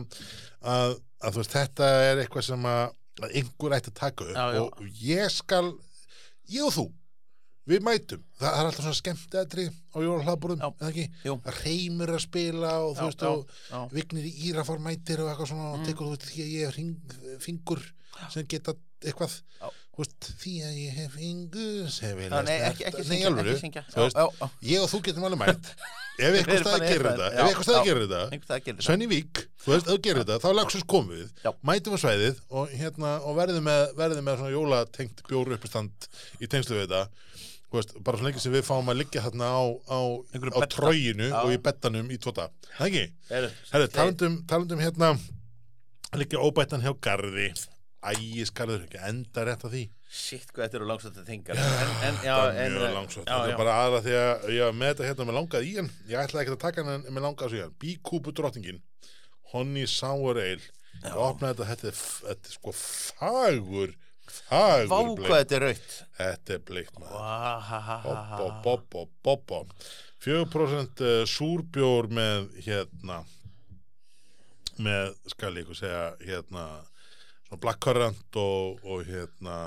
Speaker 1: að, að þú veist, þetta er eitthvað sem að, að einhver ætti að taka upp
Speaker 2: Já, já.
Speaker 1: og ég skal ég og þú, við mætum það, það er alltaf svona skemmt aðri á jólahlaðbúrum,
Speaker 2: Já.
Speaker 1: eða ekki,
Speaker 2: jú.
Speaker 1: að reymur að spila og þú
Speaker 2: Já,
Speaker 1: veist,
Speaker 2: já,
Speaker 1: og
Speaker 2: já.
Speaker 1: vignir í írafár mætir og eitthvað svona og
Speaker 2: Mm.
Speaker 1: tekur þú veist því að ég hef hring, fingur sem geta eitthvað
Speaker 2: Já.
Speaker 1: þú veist, því að ég hef fingur sem vil
Speaker 2: Já, Nei, ekki, ekki
Speaker 1: nei,
Speaker 2: syngja,
Speaker 1: alveg,
Speaker 2: ekki syngja.
Speaker 1: þú veist,
Speaker 2: Já, já,
Speaker 1: ég og þú getum alveg mætt ef
Speaker 2: Við
Speaker 1: eitthvað
Speaker 2: erum bara
Speaker 1: staði gerir
Speaker 2: eitthvað,
Speaker 1: þetta
Speaker 2: já,
Speaker 1: ef eitthvað staði
Speaker 2: já.
Speaker 1: gerir þetta
Speaker 2: einhvern dag gerir þetta.
Speaker 1: Svenni Vík, þú veist, ef þú gerir þetta þá lagsins komum við,
Speaker 2: Já.
Speaker 1: mætum á svæðið og, hérna, og verðum með, verðum með svona jólatengt bjóru uppistand í tengslu við þetta Þú veist, bara svo lengi sem við fáum að liggja þarna á, á,
Speaker 2: Einhverju
Speaker 1: á
Speaker 2: bedda.
Speaker 1: tróginu
Speaker 2: Já.
Speaker 1: og í bettanum í tóta, það ekki?
Speaker 2: Heyrðu,
Speaker 1: Herri, talandum, talandum hérna líka óbættan hjá Garði Ægisgarður, ekki enda rétt á því
Speaker 2: Shit, hvað þetta eru langsótt að þingar. En, en, já,
Speaker 1: Það er
Speaker 2: en, eh,
Speaker 1: mjög langsótt,
Speaker 2: já,
Speaker 1: það
Speaker 2: já.
Speaker 1: er bara aðra því að ég var með þetta hérna með langað í hann ég ætlaði ekki að taka hann en með langað í hann Bíkúpu drottningin, Honey Sour Ale ég opnaði þetta, þetta er, f- þetta er sko fagur
Speaker 2: Vá,
Speaker 1: fagur
Speaker 2: hvað
Speaker 1: bleikt,
Speaker 2: þetta er raut.
Speaker 1: þetta er bleikt maður Bobbo,
Speaker 2: Vá,
Speaker 1: bobbo, bobbo 4% eh, súrbjór með hérna með, skal ég ykkur segja hérna, svona blackcurrant og, og hérna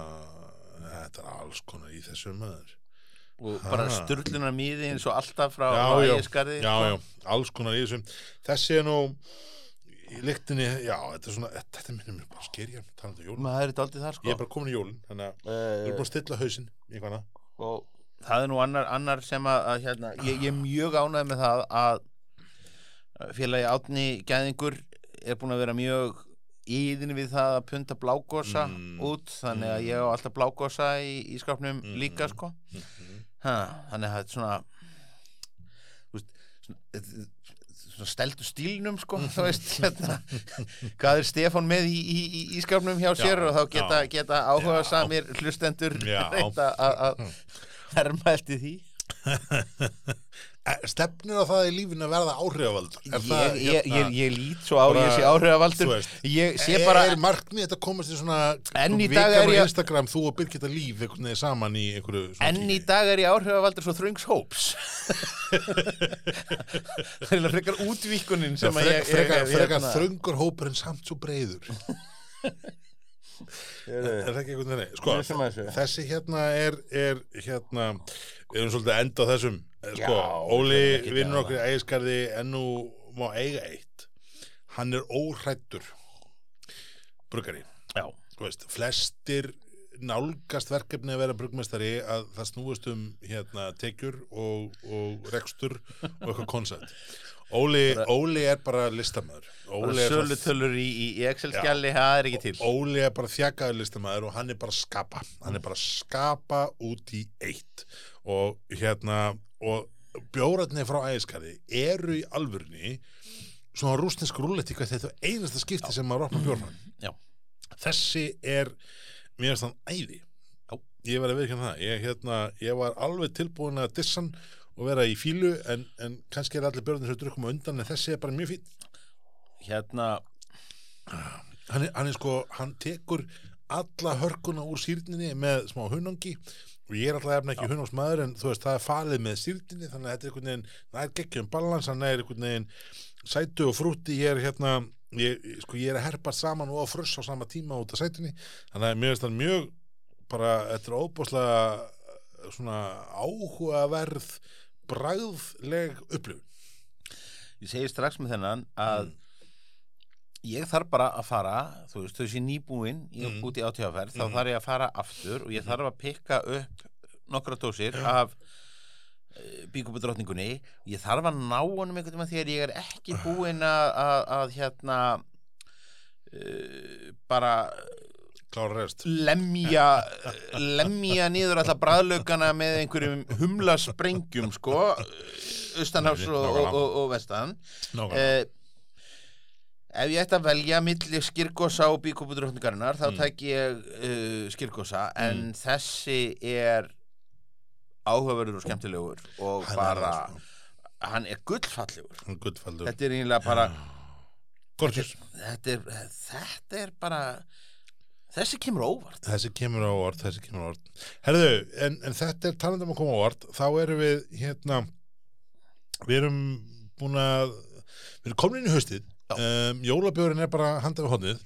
Speaker 1: þetta er alls konar í þessu maður
Speaker 2: og bara
Speaker 1: Ha.
Speaker 2: sturlunar mýði eins og alltaf frá
Speaker 1: já, já,
Speaker 2: ægiskarði.
Speaker 1: já, já, alls konar í þessu þessi er nú í lyktinni, já, þetta er svona þetta minnum mér bara skerja, talandi um jólin
Speaker 2: Maður er þetta aldrei þar, sko.
Speaker 1: ég er bara komin í jólin, þannig að við erum búin að stilla hausinn í hvaðna sko,
Speaker 2: og það er nú annar, annar sem að, að hérna, ég, ég er mjög ánægð með það að félagi Átni Gæðingur er búin að vera mjög íðin við það að punta blágosa
Speaker 1: Mm.
Speaker 2: út þannig að ég á alltaf blágosa í, í skápnum
Speaker 1: Mm.
Speaker 2: líka sko
Speaker 1: Mm-hmm.
Speaker 2: ha, þannig að þetta er svona þú veist, svona, þetta er svona steltu stílnum sko þú veist hérna, hvað er Stefán með í, í, í, í skápnum hjá sér
Speaker 1: Já,
Speaker 2: og þá geta,
Speaker 1: já.
Speaker 2: geta áhuga samir hlustendur
Speaker 1: Já. Hmm.
Speaker 2: reynda að herma eftir því
Speaker 1: Eh, Stefnir á það í lífinu að verða áhrifavald? Er
Speaker 2: ég,
Speaker 1: það, hérna-
Speaker 2: ég, ég, ég lít svo á,
Speaker 1: bara-
Speaker 2: ég sé áhrifavaldur
Speaker 1: þú veist,
Speaker 2: ég sé
Speaker 1: er,
Speaker 2: bara,
Speaker 1: er markmið þetta að komast í svona
Speaker 2: Enn í
Speaker 1: vikan
Speaker 2: dag er
Speaker 1: á
Speaker 2: ég-
Speaker 1: Instagram, þú og Birgitta Líf einhvern veginn saman í einhverju svona
Speaker 2: enn í
Speaker 1: tíu.
Speaker 2: dag er ég áhrifavaldur svo þröngs hóps það er eiginlega frekar útvíkunin sem að
Speaker 1: Frek,
Speaker 2: ég, ég,
Speaker 1: frekar,
Speaker 2: ég,
Speaker 1: frekar
Speaker 2: hérna-
Speaker 1: þröngur hópur en samt svo breyður er það ekki einhvern veginn nei?
Speaker 2: Ég er sem að þessu.
Speaker 1: sko, þessi hérna er, er hérna, við erum svolítið að enda á þessum Eh, sko,
Speaker 2: Já,
Speaker 1: Óli
Speaker 2: við erum ekki
Speaker 1: vinnur
Speaker 2: að
Speaker 1: okkur í ægiskarði en nú má eiga eitt hann er óhrættur brugari
Speaker 2: Já.
Speaker 1: Þú veist, flestir nálgast verkefni að vera brugmestari að það snúist um hérna, tekjur og, og rekstur og eitthvað koncept Óli, Óli er bara listamæður Óli
Speaker 2: bara
Speaker 1: er, bara-
Speaker 2: sölutölur í, í í Excel-skjali, það er ekki til
Speaker 1: Óli er bara þjakaður listamæður og hann er bara að skapa hann er bara að skapa út í eitt og hérna og bjóratni frá ægiskarði eru í alvörni svona rúsnesk rúletti hvað þetta er einasta skipti sem maður opna bjórfann
Speaker 2: Já.
Speaker 1: þessi er mér finnst hann æði
Speaker 2: Já.
Speaker 1: ég var að viðkjanna það ég, hérna, ég var alveg tilbúin að dissan og vera í fílu en, en kannski er allir björðin sem drukkum um á undan en þessi er bara mjög fín
Speaker 2: hérna,
Speaker 1: hann er, hann er sko, hann tekur alla hörkuna úr sýrninni með smá hunangi og ég er alltaf efna ekki hunangsmaður en þú veist það er falið með sýrninni þannig að þetta er einhvern veginn, það er geggjum balans hann er einhvern veginn sætu og frútti ég er hérna, ég, sko ég er að herpa saman og að fruss á sama tíma út af sætinni þannig að mér finnst hann mjög bara, þetta er óbúslega svona áhugaverð bragðleg upplifun
Speaker 2: ég segi strax með þennan
Speaker 1: Hmm.
Speaker 2: að ég þarf bara að fara þú veist, þau sé nýbúinn ég
Speaker 1: Mm.
Speaker 2: mm. út í átíðaferð, þá
Speaker 1: Mm.
Speaker 2: þarf ég að fara aftur og ég þarf að pikka upp nokkra dósir af byggubu drottningunni ég þarf að ná honum einhvern veginn þegar ég er ekki búinn að, að, að hérna uh, bara
Speaker 1: klára rest
Speaker 2: lemja lemja niður alltaf bræðlaugana með einhverjum humla sprengjum sko, austanhafs og, og, og, og vestan
Speaker 1: Nákvæmlega.
Speaker 2: Eh, ef ég ætti að velja milli skirkosa og bíkúpudróttningarinnar þá
Speaker 1: Mm.
Speaker 2: mm. tæk ég uh, skirkosa en þessi er áhugaverður og skemmtilegur og
Speaker 1: Hann er
Speaker 2: bara
Speaker 1: það, sko.
Speaker 2: hann er gullfallegur
Speaker 1: Hann er gullfallegur.
Speaker 2: þetta er eiginlega bara
Speaker 1: Gorgeous.
Speaker 2: þetta er, þetta er bara þessi kemur á óvart
Speaker 1: Þessi kemur á orð, þessi kemur á orð. Herðu, en, en þetta er talandum að koma á orð, þá erum við, hérna, við erum búin að, við erum komin inn í haustið,
Speaker 2: Já.
Speaker 1: um, jólabjörn er bara handað við hodnið,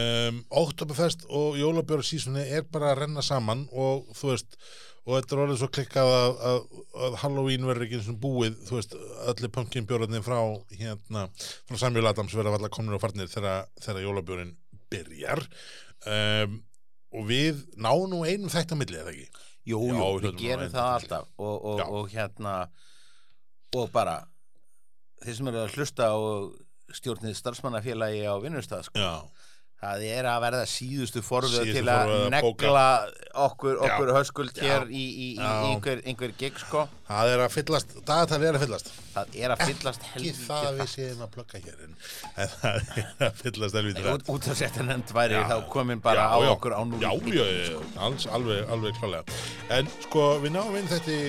Speaker 1: um, Oktoberfest og jólabjörn sísunni er bara að renna saman og þú veist, og þetta er orðið svo klikkað að, að, að Halloween verður ekki eins og búið, þú veist, öllu pumpkinbjörnir frá, hérna, frá Samuel Adams verða allar komin og farnir þegar, þegar jólabjörn byrjar. Um, og við náum nú einum þetta milli eða ekki
Speaker 2: jú,
Speaker 1: Já,
Speaker 2: jú,
Speaker 1: við hljótum
Speaker 2: við
Speaker 1: að
Speaker 2: gerum
Speaker 1: vera
Speaker 2: það
Speaker 1: einhvern
Speaker 2: alltaf og, og,
Speaker 1: Já.
Speaker 2: og hérna og bara þeir sem eru að hlusta og stjórnið starfsmannafélagi á vinnustad sko,
Speaker 1: já,
Speaker 2: Það er að verða síðustu forvöð
Speaker 1: Síðustu
Speaker 2: til að
Speaker 1: forvöð að
Speaker 2: negla okkur, okkur höskuld
Speaker 1: Já.
Speaker 2: hér í, í, í
Speaker 1: Já.
Speaker 2: einhver, einhver gig sko.
Speaker 1: það er að fyllast dagatalið er að fyllast
Speaker 2: Það er að fyllast
Speaker 1: ekki
Speaker 2: helvítið
Speaker 1: það við séum að plugga hér en en það er að fyllast helvítið
Speaker 2: Út, út að setja nefnd væri
Speaker 1: Já.
Speaker 2: þá komin bara á okkur á núli
Speaker 1: já, já, já, alls, alveg, alveg klálega en sko, við náum inn þetta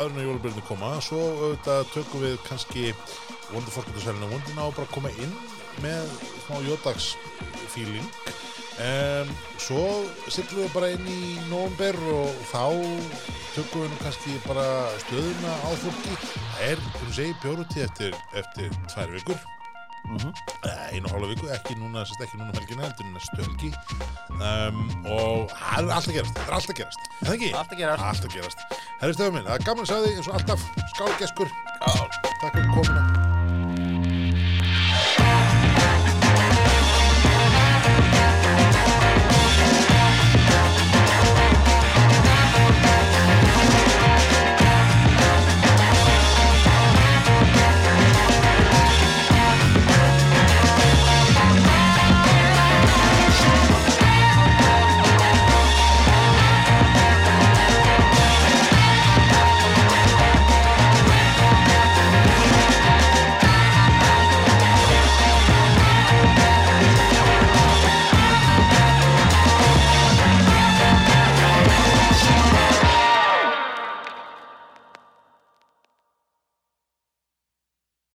Speaker 1: aðrun og jólabjörnir koma svo auðvitað tökum við kannski vonduforskundasælinu og vondina og bara koma inn með smá jódags feeling um, svo sittum við bara inn í nómber og þá tökum við nú kannski bara stöðuna á fólki það er, þú segir, bjóruti eftir, eftir tvær vikur Nei, einu og hálfa viku, ekki núna, sérst ekki núna um helgina, heldur næstu helgi um, og það er alltaf gerast, það er alltaf gerast, er það ekki?
Speaker 2: Allt að gera
Speaker 1: Alltaf gerast. Herri stöðum minn, það er gaman að sjá þig eins og alltaf, skálgeskur,
Speaker 2: allt
Speaker 1: takk fyrir komuna.